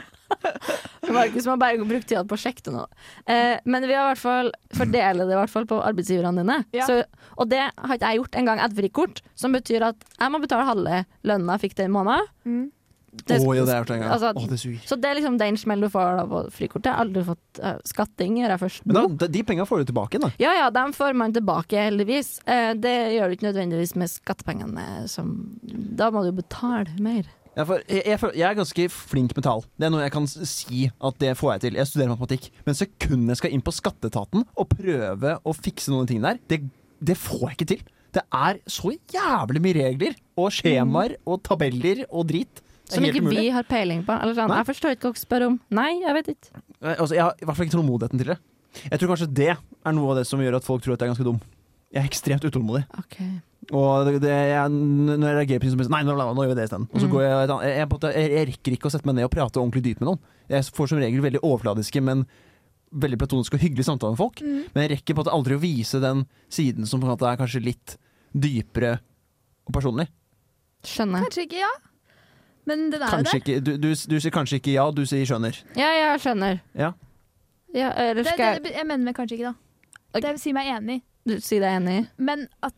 S5: Markus må bare bruke tida på å sjekke det nå. Eh, men vi har i hvert fall fordele det i hvert fall på arbeidsgiverne dine.
S2: Ja.
S5: Så, og det har ikke jeg gjort engang. Et frikort, som betyr at jeg må betale halve lønna jeg fikk den måneden.
S2: Mm.
S3: Å, jo, det har jeg gjort en gang.
S5: altså-
S3: Å, det suger.
S5: Så det er liksom den smell du får da på frikortet. Jeg har aldri fått eh, skatting, gjør jeg først
S3: Men
S5: nå.
S3: da, de penga får du tilbake igjen, da.
S5: Ja ja, dem får man tilbake, heldigvis. Eh, det gjør du ikke nødvendigvis med skattepengene som Da må du jo betale mer.
S3: Ja, for jeg, jeg, føler- jeg er ganske flink med tall. Det er noe jeg kan s- si at det får jeg til. Jeg studerer matematikk. Men sekundet jeg skal inn på skatteetaten og prøve å fikse noen ting der, det, det får jeg ikke til. Det er så jævlig mye regler og skjemaer og tabeller og drit. Det er
S5: Som
S3: helt
S5: ikke
S3: umulig.
S5: vi har peiling på. Eller sånn.
S3: Nei.
S5: Jeg forstår ikke hva dere spør om. Nei, jeg vet ikke.
S3: Eh, Altså, jeg har i hvert fall ikke tålmodigheten til det. Jeg tror kanskje det er noe av det som gjør at folk tror at jeg er ganske dum. Jeg er ekstremt utålmodig.
S5: Ok.
S3: Og det, det, jeg, når jeg reagerer på ting som Nei, nå, nå gjør vi det isteden. Og så
S5: Mm.
S3: går jeg, et annet- jeg, jeg, på en måte- jeg, jeg rekker ikke å sette meg ned og prate ordentlig dypt med noen. Jeg får som regel veldig overfladiske, men veldig platoniske og hyggelige samtaler med folk.
S2: Mm.
S3: Men jeg rekker på en måte aldri å vise den siden som på en måte er kanskje litt dypere og personlig.
S5: Skjønner.
S2: Kanskje ikke ja. Men den er jo
S3: Kanskje
S2: der.
S3: ikke, du, du, du sier kanskje ikke ja, du sier skjønner.
S5: Ja, ja, jeg skjønner.
S3: Ja.
S5: Ja, eller
S2: Det,
S5: skal
S2: det, jeg mener meg kanskje ikke, da.
S5: Ok.
S2: Det sier meg enig.
S5: jeg du si deg enig?
S2: Men at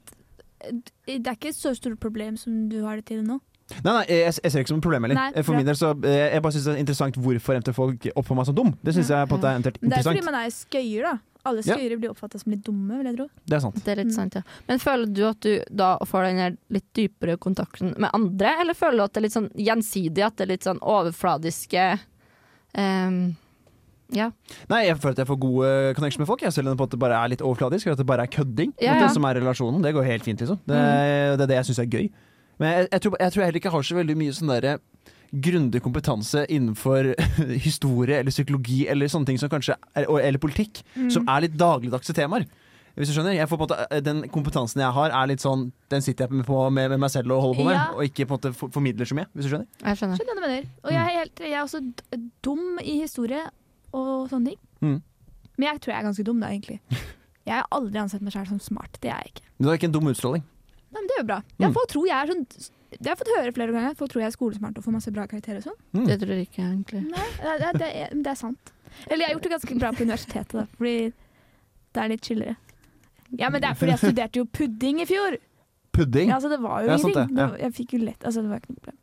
S2: eh, det er ikke et så stort problem som du har det til nå.
S3: Nei, nei, jeg, jeg ser det ikke som et problem heller.
S2: Nei,
S3: Eh, For
S2: bra.
S3: min del så eh, Jeg bare synes det er interessant hvorfor eventuelt folk oppfører meg som dum. Det synes jeg på en måte er eventuelt
S2: Men det er fordi
S3: interessant.
S2: man er skøyer, da. Alle
S3: Ja.
S2: skøyere blir oppfatta som litt dumme, vil jeg tro.
S3: Det er sant.
S5: Det er litt
S2: Mm.
S5: sant, ja. Men føler du at du da får den her litt dypere kontakten med andre, eller føler du at det er litt sånn gjensidig, at det er litt sånn overfladiske ehm, Ja.
S3: Nei, jeg føler at jeg får gode connection med folk. Jeg selv om det på en måte bare er litt overfladisk, eller at det bare er kødding.
S5: Ja,
S3: At
S5: ja.
S3: Det som er relasjonen. Det går helt fint, liksom. Det,
S2: Mm.
S3: det er det jeg syns er gøy. Men jeg, jeg, tror, jeg tror jeg heller ikke har så veldig mye sånn derre grundig kompetanse innenfor historie eller psykologi eller sånne ting som kanskje er, og- Eller politikk,
S2: Mm.
S3: som er litt dagligdagse temaer. Hvis du skjønner, jeg får på en måte Den kompetansen jeg har, er litt sånn Den sitter jeg på med, med meg selv og holder på med,
S2: Ja.
S3: og ikke på en måte for- formidler så mye. Hvis du skjønner?
S5: Jeg skjønner.
S2: Skjønner hva du mener. Og jeg er, helt, jeg er også d- dum i historie og sånne ting.
S3: Mm.
S2: Men jeg tror jeg er ganske dum, da, egentlig. Jeg har aldri ansett meg sjøl som smart. Det er jeg ikke.
S3: Men det er ikke en dum utstråling.
S2: Nei, men det er jo bra. Ja,
S3: Mm.
S2: folk tror jeg er sånn Det har jeg fått høre flere ganger. Folk tror jeg er skolesmart og får masse bra karakterer og sånn.
S3: Mm.
S5: Det tror jeg ikke, egentlig.
S2: Nei, det, det, det, er, det er sant. Eller jeg har gjort det ganske bra på universitetet, da, fordi det er litt chillere. Ja, men det er fordi jeg studerte jo pudding i fjor!
S3: Pudding.
S2: Ja, altså, det var jo
S3: Ja, sant
S2: ingenting.
S3: det, ja.
S2: Det var- Jeg fikk jo lett Altså, det var ikke noe problem.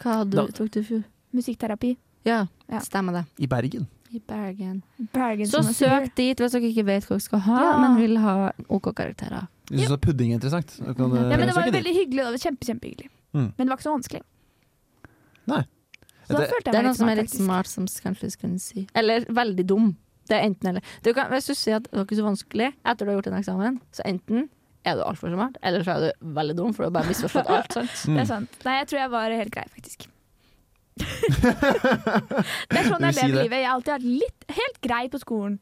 S5: Hva hadde
S3: Da-
S5: du, tok du i fjor?
S2: Musikkterapi.
S5: Ja,
S2: Ja.
S5: stemmer det.
S3: I Bergen.
S5: I Bergen.
S2: Bergen
S5: Så
S2: som var
S5: søk dit hvis dere ikke vet hva dere skal ha,
S2: Ja.
S5: men vil ha OK karakterer.
S3: Du syns pudding er interessant? så Kan, du-
S2: Ja, men det
S3: så
S2: var
S3: ikke
S2: jo
S3: det.
S2: veldig hyggelig. da. Det var kjempe, kjempehyggelig.
S3: Mm.
S2: Men det var ikke så vanskelig.
S3: Nei.
S2: Så da
S3: Det-
S2: følte
S5: Det
S2: jeg
S5: er
S2: meg
S5: noe
S2: litt
S5: som
S2: smart,
S5: er litt
S2: faktisk.
S5: smart, som s- kanskje du skulle si. Eller veldig dum. Det er enten eller. Du kan, hvis du sier at det var ikke så vanskelig etter du har gjort en eksamen, så enten er du altfor smart, eller så er du veldig dum, for du har bare misforstått alt. sant?
S3: Mm.
S2: Det er sant. Nei, jeg tror jeg var helt grei, faktisk. det er sånn
S3: Du vil
S2: jeg
S3: si
S2: lever
S3: det?
S2: livet. Jeg har alltid vært litt helt grei på skolen.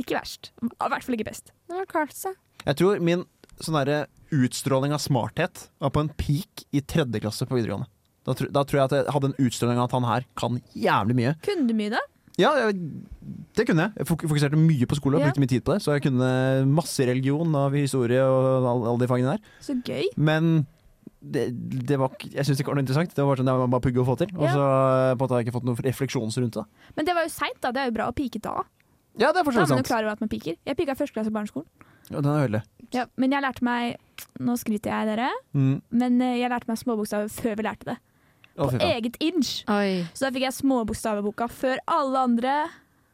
S2: Ikke verst. I hvert fall ikke best.
S5: Det har klart seg.
S3: Jeg tror min sånn derre utstråling av smarthet var på en peak i tredje klasse på videregående. Da, tro, da tror jeg at jeg hadde en utstråling av at han her kan jævlig mye.
S2: Kunne du mye, da?
S3: Ja, jeg, det kunne jeg. Jeg fok- fokuserte mye på skole,
S2: Ja.
S3: brukte mye tid på det. Så jeg kunne masse religion av historie og alle all de fagene der.
S2: Så gøy.
S3: Men det, det var, ikke- jeg syns ikke det var noe interessant. Det var sånn det var bare pugge og få til. Og
S2: Ja.
S3: så eh, på en måte har jeg ikke fått noen refleksjoner rundt det.
S2: Men det var jo seint, da. Det er jo bra å pike da.
S3: Ja, det er
S2: Da er
S3: fortsatt
S2: man jo
S3: sant.
S2: klar over at man piker. Jeg pika i første klasse på barneskolen.
S3: Ja, den er veldig.
S2: Ja, men jeg lærte meg Nå skryter jeg dere,
S3: Mm.
S2: men eh, jeg lærte meg småbokstaver før vi lærte det.
S3: Å, fy faen.
S2: Eget inch.
S5: Oi.
S2: Så da fikk jeg småbokstaveboka før alle andre.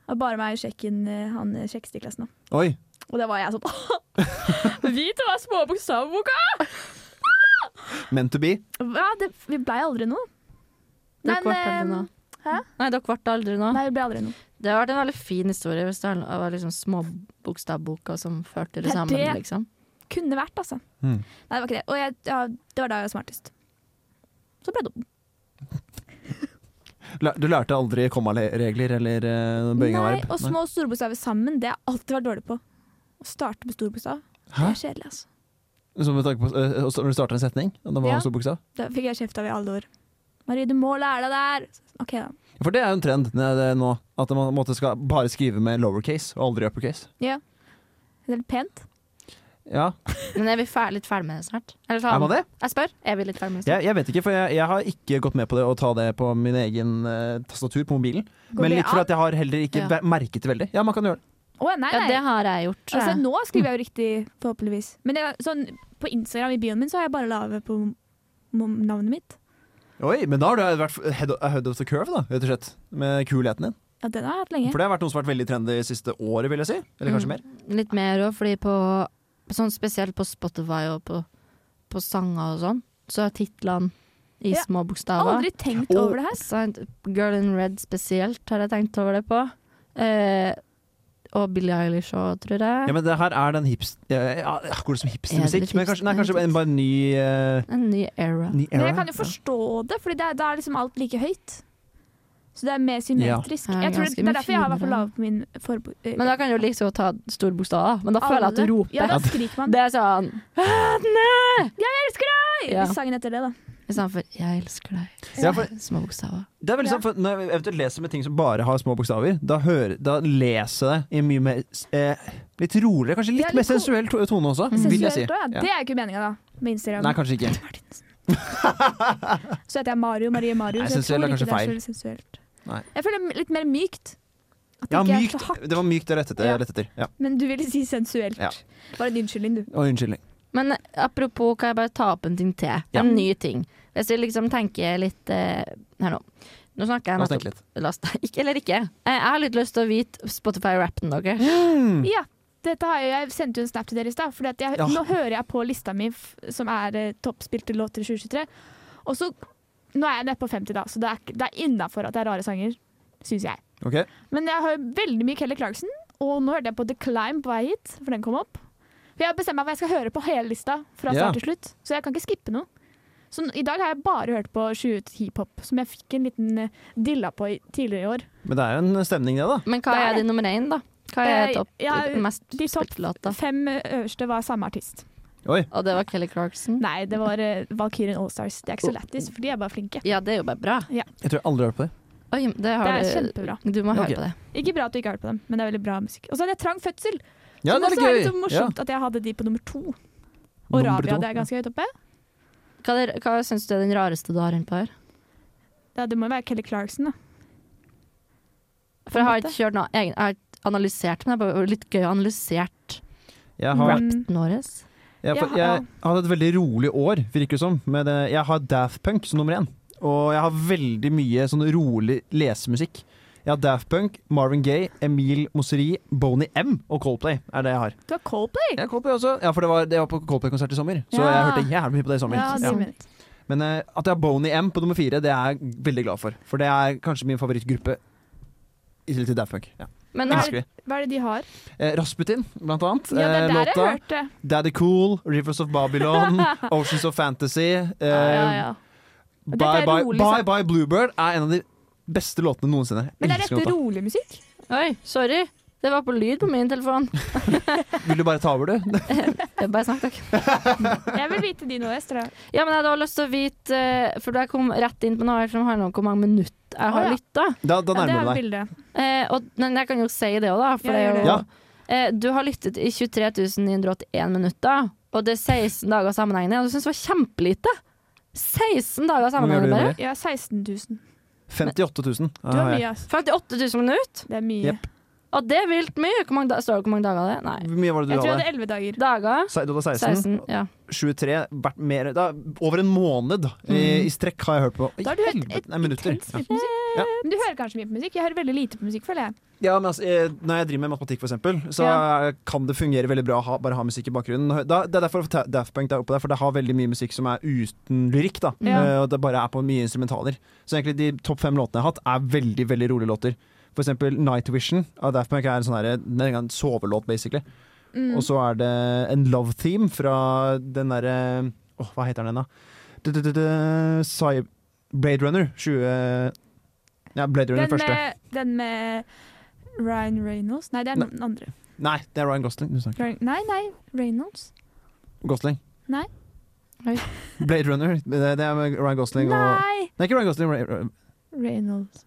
S2: Og bare meg og sjekken, eh, han eh, kjekkeste i klassen. da.
S3: Oi.
S2: Og det var jeg sånn Vi to har små bokstavboka!
S3: Meant to be.
S2: Ja, det, vi blei aldri noe.
S5: Dere ble aldri
S2: eh,
S5: noe.
S2: hæ?
S5: Nei, dere ble aldri noe.
S2: Nei, vi ble aldri noe.
S5: Det har vært en veldig fin historie hvis det var liksom små bokstavboka som førte
S2: Det
S5: det
S2: er
S5: sammen,
S2: det.
S5: liksom.
S2: Kunne vært, altså.
S3: Mm.
S2: Nei, det var ikke det. Og jeg, ja, det var da jeg var smartest. Så ble jeg dum.
S3: Lær- Du lærte aldri kommaregler eller eh, bøying av
S2: Nei,
S3: verb?
S2: og små og store bokstaver sammen, det har jeg alltid vært dårlig på. Å starte med stor bokstav, det
S3: Hæ?
S2: er kjedelig, altså.
S3: Så med tanke på, eh, også når du starter en setning? Da var
S2: Ja.
S3: det stor bokstav?
S2: Det fikk jeg kjeft av i alle år. Marie, du må lære deg der! OK, da.
S3: For det er jo en trend eh, det nå. At man på en måte skal bare skrive med lowercase og aldri uppercase.
S2: Det er litt pent.
S3: Ja,
S5: Men er vi fer litt ferdig med det snart? Eller sånn,
S3: Er man det?
S5: Jeg spør. Er vi litt ferdig med det snart?
S3: Jeg, jeg vet ikke, for jeg, jeg har ikke gått med på det å ta det på min egen eh, tastatur på mobilen.
S2: Går
S3: men
S2: det
S3: litt fordi
S2: an?
S3: at jeg har heller ikke
S5: Ja.
S3: ve- merket det veldig. Ja, man kan gjøre det.
S2: Å, nei,
S5: Ja,
S2: nei.
S5: det har jeg gjort, tror
S2: altså,
S5: jeg.
S2: nå skriver jeg jo riktig, forhåpentligvis. Men det, er sånn, på Instagram i bioen min så har jeg bare laget på mo- navnet mitt.
S3: Oi, men da har du vært head, head of the curve, da, rett og slett. Med kulheten din.
S2: Ja, den har jeg hatt lenge.
S3: For det har vært noe som har vært veldig trendy det siste året, vil jeg si. Eller kanskje
S5: Mm.
S3: mer.
S5: Litt mer òg, fordi på sånn Spesielt på Spotify og på, på sanger og sånn, så er titlene i
S2: Ja.
S5: små bokstaver.
S2: Aldri tenkt
S3: Og-
S2: over det her.
S5: Sant? Girl in Red spesielt har jeg tenkt over det på. Eh, og Billie Eilish òg, tror jeg.
S3: Ja, men det her er den hipst... eh, Ja, går det som
S5: Er
S3: hipstermusikk?
S5: det
S3: Men kanskje, nei,
S5: hipster-
S3: kanskje en bare en ny, eh,
S5: En ny era.
S3: ny
S2: Men
S3: era.
S2: jeg kan jo forstå det, for da er liksom alt like høyt. Så det er mer symmetrisk.
S5: Ja. Ja,
S2: Jeg tror det,
S5: ganske
S2: det
S5: mye
S2: er derfor jeg har vært for
S5: finere.
S2: lav på min forbo... eh,
S5: Men da kan du like så godt ta store bokstaver, da. men da føler jeg at
S2: alle.
S5: du roper.
S2: Ja, da skriker man.
S5: Det er sånn Nei!
S2: Jeg elsker deg!
S5: Ja. Mm.
S2: I sangen etter det, da.
S5: Istedenfor 'jeg elsker deg'.
S3: Ja, for-
S5: Små bokstaver.
S3: Det er veldig
S2: Ja.
S3: sant, for Når jeg eventuelt leser med ting som bare har små bokstaver, da, hører, da leser jeg det i mye mer eh, Litt roligere, kanskje litt
S2: Ja, litt
S3: mer
S2: ko-
S3: sensuell to- tone også, vil jeg si.
S2: Sensuelt òg, ja.
S3: Ja.
S2: Det er ikke meninga, da. Med Instagram.
S3: Nei, kanskje ikke.
S2: Martinsen. så heter jeg Mario Marie Mario,
S3: Nei,
S2: så jeg
S3: sensuell
S2: tror
S3: er
S2: ikke det
S3: kanskje
S2: er så sensuelt.
S3: Nei.
S2: Jeg føler det er litt mer mykt. At det
S3: Ja,
S2: ikke
S3: mykt.
S2: er så hardt.
S3: Det var mykt jeg lette
S2: Ja.
S3: etter. Lett etter. Ja.
S2: Men du ville si sensuelt.
S3: Ja.
S2: Bare en unnskyldning, du.
S3: Og unnskyldning.
S5: Men apropos, kan jeg bare ta opp en ting til?
S3: Ja.
S5: En ny ting. Hvis vi liksom tenker litt eh, Her nå. Nå snakker jeg
S3: La oss
S5: nettopp
S3: tenke litt.
S5: La oss tenke- ikke, Eller ikke. Eh, Jeg har litt lyst til å vite Spotify-rappen deres.
S3: Mm.
S2: Ja. Dette har jeg, jeg sendte jo en snap til dere i stad, for jeg,
S3: Ja.
S2: nå hører jeg på lista mi f som er eh, toppspilte låter i 2023. Og så Nå er jeg nede på 50, da, så det er, ikke- det er innafor at det er rare sanger, syns jeg.
S3: Ok.
S2: Men jeg hører veldig mye Kelly Clarkson, og nå hørte jeg på The Climb på vei hit, for den kom opp. For jeg har bestemt meg for at jeg skal høre på hele lista fra
S3: Ja.
S2: start til slutt, så jeg kan ikke skippe noe. Så n- i dag har jeg bare hørt på 20 ut hiphop, som jeg fikk en liten eh, dilla på i, tidligere i år.
S3: Men det er jo en stemning, det, da.
S5: Men hva
S2: Det er
S5: er
S2: det.
S5: din nummer én, da? Hva er
S2: Eh,
S5: topp,
S2: ja,
S5: mest
S2: de topp-
S5: spilte låt, da?
S2: Fem eh, øverste var samme artist.
S3: Oi.
S5: Og det var Kelly Clarkson?
S2: Nei, det var eh, Valkyrien Allstars. Det er ikke så lættis, for de er bare flinke.
S5: Ja, det er jo bare bra.
S3: Jeg tror jeg aldri har hørt på det.
S5: Oi, det
S2: Det
S5: har
S2: er
S5: du
S2: kjempebra.
S5: Du må høre
S3: Ok.
S5: på det.
S2: Ikke bra at du ikke har hørt på dem, men det er veldig bra musikk. Og så hadde jeg Trang fødsel,
S3: Ja,
S2: som
S3: det er
S2: også er litt
S3: litt
S2: så
S3: gøy.
S2: morsomt at jeg hadde de på nummer to. Og
S3: Nummer
S2: Rabia,
S3: to.
S2: det er ganske høyt oppe.
S5: Hva, er- hva syns du er den rareste du har innpå her?
S2: Ja, det må jo være Kelly Clarkson, da.
S5: For jeg har ikke kjørt noe egen, jeg har ikke analysert, men det er bare litt gøy å analysere
S3: Jeg har,
S2: Mm.
S5: rapten vår.
S3: jeg, for,
S2: Ja, ja.
S3: jeg hadde et veldig rolig år, virker det som. Med det. Jeg har Daft Punk som nummer én. Og jeg har veldig mye sånn rolig lesemusikk. Jeg har Daft Punk, Marvin Gaye, Emil Mosseri, Boney M og Coldplay. er det jeg har.
S2: Du har Coldplay?
S3: Jeg har Coldplay også. Ja, for det var, jeg var på Coldplay-konsert i sommer, så
S5: Ja.
S3: jeg hørte jævlig mye på det i sommer.
S2: Ja, det
S5: Ja.
S2: mener jeg.
S3: Men eh, at jeg har Boney M på nummer fire, det er jeg veldig glad for. For det er kanskje min favorittgruppe. I tillegg til Daft Punk. Ja.
S5: Men
S2: Nei.
S5: er,
S3: Elsker de.
S2: Hva er det de har?
S3: Eh, Rasputin, blant annet.
S2: Ja, det
S3: eh,
S2: er der
S3: låta.
S2: jeg hørte.
S3: Daddy Cool, Rivers of Babylon, Oceans of Fantasy. eh,
S2: Ja, ja, ja. Dette
S3: Bye
S2: er
S3: bye,
S2: rolig,
S3: bye
S2: sant?
S3: Bye Bluebird er en av de beste låtene noensinne. Jeg
S2: Men er
S3: elsker
S2: dette
S3: låta.
S2: rolig musikk?
S5: oi, sorry. Det var på lyd på min telefon.
S3: Vil du bare ta over, du?
S5: Jeg Bare snakk, takk.
S2: Jeg vil vite dine og Estra.
S5: Ja, men jeg hadde også lyst til å vite, eh, for jeg kom rett inn på noe her som handler om hvor mange minutter jeg
S2: Å,
S5: har
S2: ja.
S5: lytta.
S3: Da,
S2: Ja,
S3: da
S2: det
S3: nærmer
S2: er
S3: du deg.
S2: bildet.
S5: Eh, og, men jeg kan jo si det òg, da. For
S2: Ja,
S5: det er
S2: gjør
S5: jo,
S3: det. Ja.
S5: eh, du har lyttet i 23 981 minutter, og det er 16 dager sammenhengende. Og du syns det var kjempelite!
S3: Hvor
S5: 16 dager
S3: mye har du
S5: sammenhengende bare.
S3: gjort?
S2: Jeg har 16 000.
S3: 58
S2: Du
S3: 000.
S2: har
S3: har jeg.
S2: mye, ass.
S5: 58 000 minutter!
S2: Det er mye.
S3: Jepp.
S5: Og det er vilt mye! Hvor mange da står det hvor mange dager det er? Nei.
S3: Eh, Hvor mye var det
S2: Jeg
S3: du
S2: tror jeg
S3: hadde?
S2: hadde 11 dager.
S5: Dager?
S3: Se- Du hadde 16.
S5: 16. Ja.
S3: 23. Vært mer, da, over en måned i,
S5: Mm.
S3: i strekk har jeg hørt på. I
S2: Da har du hørt
S3: helvete,
S2: et
S3: nei, minutter.
S2: intenst litt musikk.
S3: Ja.
S2: Men du hører kanskje mye på musikk? Jeg hører veldig lite på musikk, føler jeg.
S3: Ja, men altså, eh, når jeg driver med matematikk, for eksempel, så
S2: Ja.
S3: eh, kan det fungere veldig bra å ha, bare ha musikk i bakgrunnen. Da, det er derfor Ta- Daft Punk er oppe der, for det har veldig mye musikk som er uten lyrikk. da
S2: Ja.
S3: Eh, Og det bare er på mye instrumentaler. Så egentlig de topp fem låtene jeg har hatt, er veldig veldig rolige låter. For eksempel Night Vision av Daft Punk er en sånn her, den er en sovelåt, basically.
S2: Mm.
S3: Og så er det en love theme fra den derre Åh, hva heter den, da? Du-du-du-du, Cy- Blade Runner 20 Ja, Blade Runner
S2: Den eh,
S3: første.
S2: med, den med Ryan Reynolds Nei, det er
S3: Nei.
S2: den andre.
S3: Nei, det er Ryan Gosling. Du snakker.
S2: Ryan, nei, nei, Reynolds.
S3: Gosling.
S2: Nei.
S5: Oi.
S3: Blade Runner. Det, det er med Ryan Gosling og
S2: Nei!
S3: Nei, ikke Ryan Gosling. Ray, Ray,
S2: Reynolds.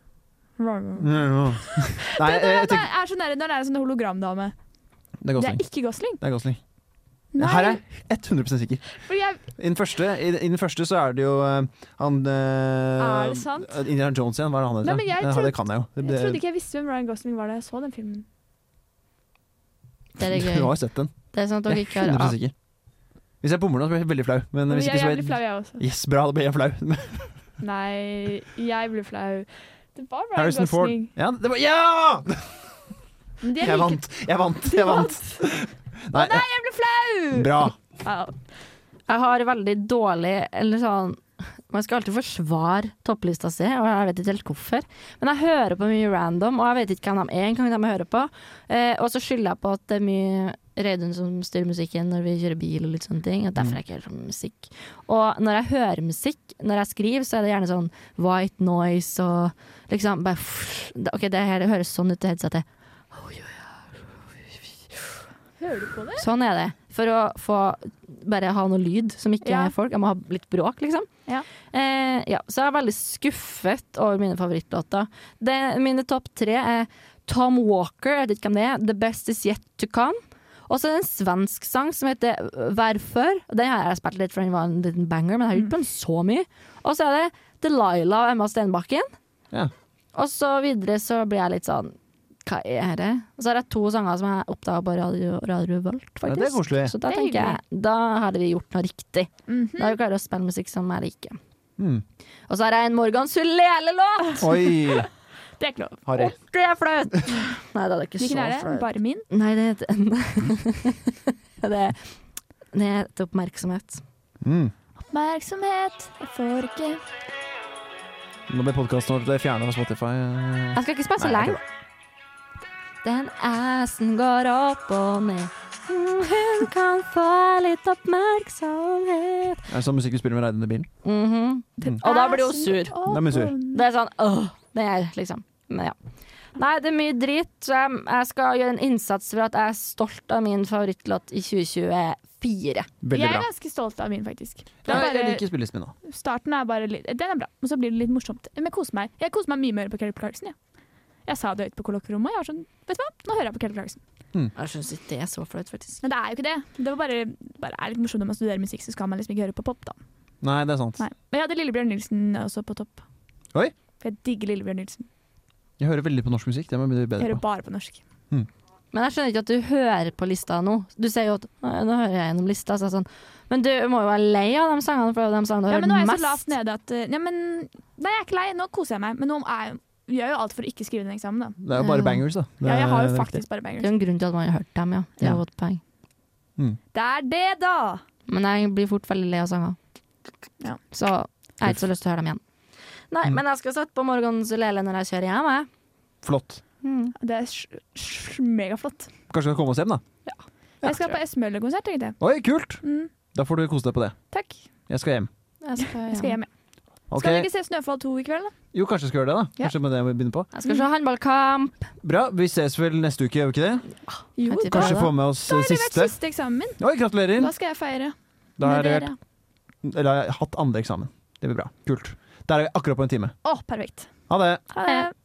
S2: Reynolds.
S3: Mm. Nei,
S2: det,
S3: jeg, jeg
S2: det
S3: tenker,
S2: er sånn der, når det er en sånn hologramdame.
S3: det er
S2: Det er
S3: Gosling.
S2: ikke Gosling.
S3: Det er Gosling.
S2: Nei,
S3: Her er jeg 100 sikker.
S2: for jeg,
S3: I den første, i, i den første så er det jo eh, han
S2: Er
S3: uh,
S2: det sant?
S3: Indiana Jones igjen. Hva er det han heter?
S2: Nei, men jeg
S3: Ja,
S2: trodde-
S3: det kan jeg jo.
S2: jeg trodde ikke jeg visste hvem Ryan Gosling var da jeg så den filmen.
S5: Det er
S3: Du har
S5: gøy.
S3: jo sett den.
S5: Det er sånn at dere
S3: Jeg
S5: ikke
S3: er
S5: har
S3: 100 sikker. Hvis jeg bommer nå, så blir jeg veldig flau. Men
S2: Men
S3: hvis
S2: jeg,
S3: ikke, så
S2: jeg
S3: blir
S2: blir flau, jeg også.
S3: Yes, bra, da blir jeg flau.
S2: Nei, jeg blir flau. Det var Ryan
S3: Harrison Ford.
S2: Gosling.
S3: Ja! Det var, ja!
S2: Men det er
S3: Jeg
S2: like-
S3: vant, jeg vant,
S2: Du
S3: jeg vant. Nei,
S2: nei, jeg ble flau!
S3: bra.
S2: Ja.
S5: Jeg har veldig dårlig Eller sånn Man skal alltid forsvare topplista si, og jeg vet ikke helt hvorfor. Men jeg hører på mye random, og jeg vet ikke hvem de er engang, de jeg hører på. Eh, og så skylder jeg på at det er mye Reidun som styrer musikken når vi kjører bil og litt sånne ting. At derfor er jeg ikke helt sånn musikk. Og når jeg hører musikk, når jeg skriver, så er det gjerne sånn white noise og liksom bare OK, det her høres sånn ut i headsetet.
S2: Hører du på det?
S5: Sånn er det. For å få bare ha noe lyd som ikke
S2: Ja.
S5: er folk. Jeg må ha litt bråk, liksom.
S2: Ja.
S5: Eh, ja, så jeg er veldig skuffet over mine favorittlåter. Det, mine topp tre er Tom Walker, jeg vet ikke hvem det er. The Best Is Yet To Come. Og så er det en svensk sang som heter Værfør. Den har jeg spilt litt, for den var en liten banger, men jeg har
S3: Mm.
S5: ikke på den så mye. Og så er det Delilah av Emma Stenbakken.
S3: Ja.
S5: Og så videre så blir jeg litt sånn hva er det? Og så er det to sanger som jeg oppdaga på Radio, radio Revolt,
S3: Ja,
S5: faktisk.
S3: det er koselig.
S5: Så da
S2: Det er
S5: tenker jeg, da har dere gjort noe riktig.
S2: Mhm.
S5: Da har dere klart å spille musikk som jeg liker.
S3: Mm. Ah.
S5: Og så har jeg en Morgan Sulele-låt!
S3: Oi,
S2: Det er ikke lov.
S3: Harry.
S5: Å, Det er flaut! Nei, det er ikke
S2: Hvilken
S5: så
S2: er det?
S5: flaut.
S2: Bare min?
S5: Nei, det heter Det er det heter oppmerksomhet.
S3: Mm.
S2: Oppmerksomhet, jeg får ikke
S3: Nå ble podkasten vår fjerna fra Spotify.
S5: Jeg skal ikke spille så
S3: Nei, det er
S5: lenge. Den assen går opp og ned. Mm, Hun kan få litt oppmerksomhet.
S3: Er det sånn musikk du spiller med reidende bilen?
S5: Mhm.
S3: Mm.
S5: Og da blir hun sur.
S3: Da blir hun sur.
S5: Det er sånn åh, det er liksom Men ja. Nei, det er mye drit, så jeg, jeg skal gjøre en innsats for at jeg er stolt av min favorittlåt i 2024.
S3: Veldig
S2: jeg er
S3: bra.
S2: ganske stolt av min, faktisk. Det
S3: Ja,
S2: er
S3: jeg
S2: bare,
S3: liker spillelisten min nå.
S2: starten er bare litt Den er bra, og så blir det litt morsomt. Men jeg koser meg. Jeg koser meg mye med å høre på Kelly Clarkson. Ja. Jeg sa det høyt på kollokkerommet. og Jeg var sånn, vet du hva, nå hører jeg på Kelly Clarkson.
S5: Jeg syns ikke det er så flaut, faktisk.
S2: Men det er jo ikke det. Det var bare, bare er litt morsomt når man studerer musikk, så skal man liksom ikke høre på pop, da.
S3: Nei, det er sant.
S2: Nei. Men jeg hadde Lillebjørn Nilsen også på topp.
S3: Oi.
S2: For jeg digger Lillebjørn Nilsen.
S3: Jeg hører veldig på norsk musikk. Det må jeg bli
S2: Jeg
S3: bedre
S2: hører
S3: på.
S2: bare på norsk.
S5: Men jeg skjønner ikke at du hører på lista nå. Du sier jo at «Nei, nå hører jeg gjennom lista, så jeg er sånn. Men du må jo være lei av de sangene, for det er jo de sangene du
S2: Ja, men nå er
S5: hører
S2: jeg så lavt
S5: mest.
S2: nede at eh, ja, men, Nei, jeg er ikke lei. Nå koser jeg meg. Men nå er, jeg gjør jo alt for å ikke skrive den eksamen, da.
S3: Det er jo bare bangers, da. Det
S2: Ja, jeg har
S3: er-
S2: jo
S3: det er viktig.
S2: faktisk bare
S5: Det er
S2: bangers.
S5: jo en grunn til at man har hørt dem, ja. Det er jo et poeng.
S2: Det er det, da!
S5: Men jeg blir fort veldig lei av sanger.
S2: Ja.
S5: Så jeg har ikke så lyst til å høre dem igjen. Nei, men jeg skal sette på Morgan Sulele når jeg kjører hjem, jeg.
S3: Flott.
S5: Mm.
S2: Det er sj- sj- megaflott.
S3: Kanskje vi kan komme oss hjem, da. Ja,
S2: Jeg skal på S. Møller-konsert, tenkte jeg.
S3: Oi, kult!
S2: Mm,
S3: Da får du kose deg på det.
S2: takk.
S3: Jeg skal hjem.
S5: Jeg skal,
S2: Jeg skal hjem, ja. Skal vi
S3: Ok,
S2: ikke se Snøfall 2 i kveld, da?
S3: Jo, kanskje jeg skal gjøre det, da.
S2: Ja.
S3: Kanskje med det må vi begynne på.
S5: Jeg skal se håndballkamp.
S3: Bra, vi ses vel neste uke, gjør vi ikke det?
S2: Jo,
S5: Jeg tipper
S2: da,
S5: det.
S3: Kanskje få med oss
S2: da
S3: eh,
S2: har det vært
S3: siste.
S2: siste eksamen min.
S3: Oi, gratulerer!
S2: Da skal jeg feire.
S3: Da
S2: med
S3: har jeg,
S2: dere.
S3: vært- eller, jeg har hatt andre eksamen. Det blir bra. Kult. Der er vi akkurat på en time.
S2: Å, perfekt.
S3: Ha det!
S2: Ha det.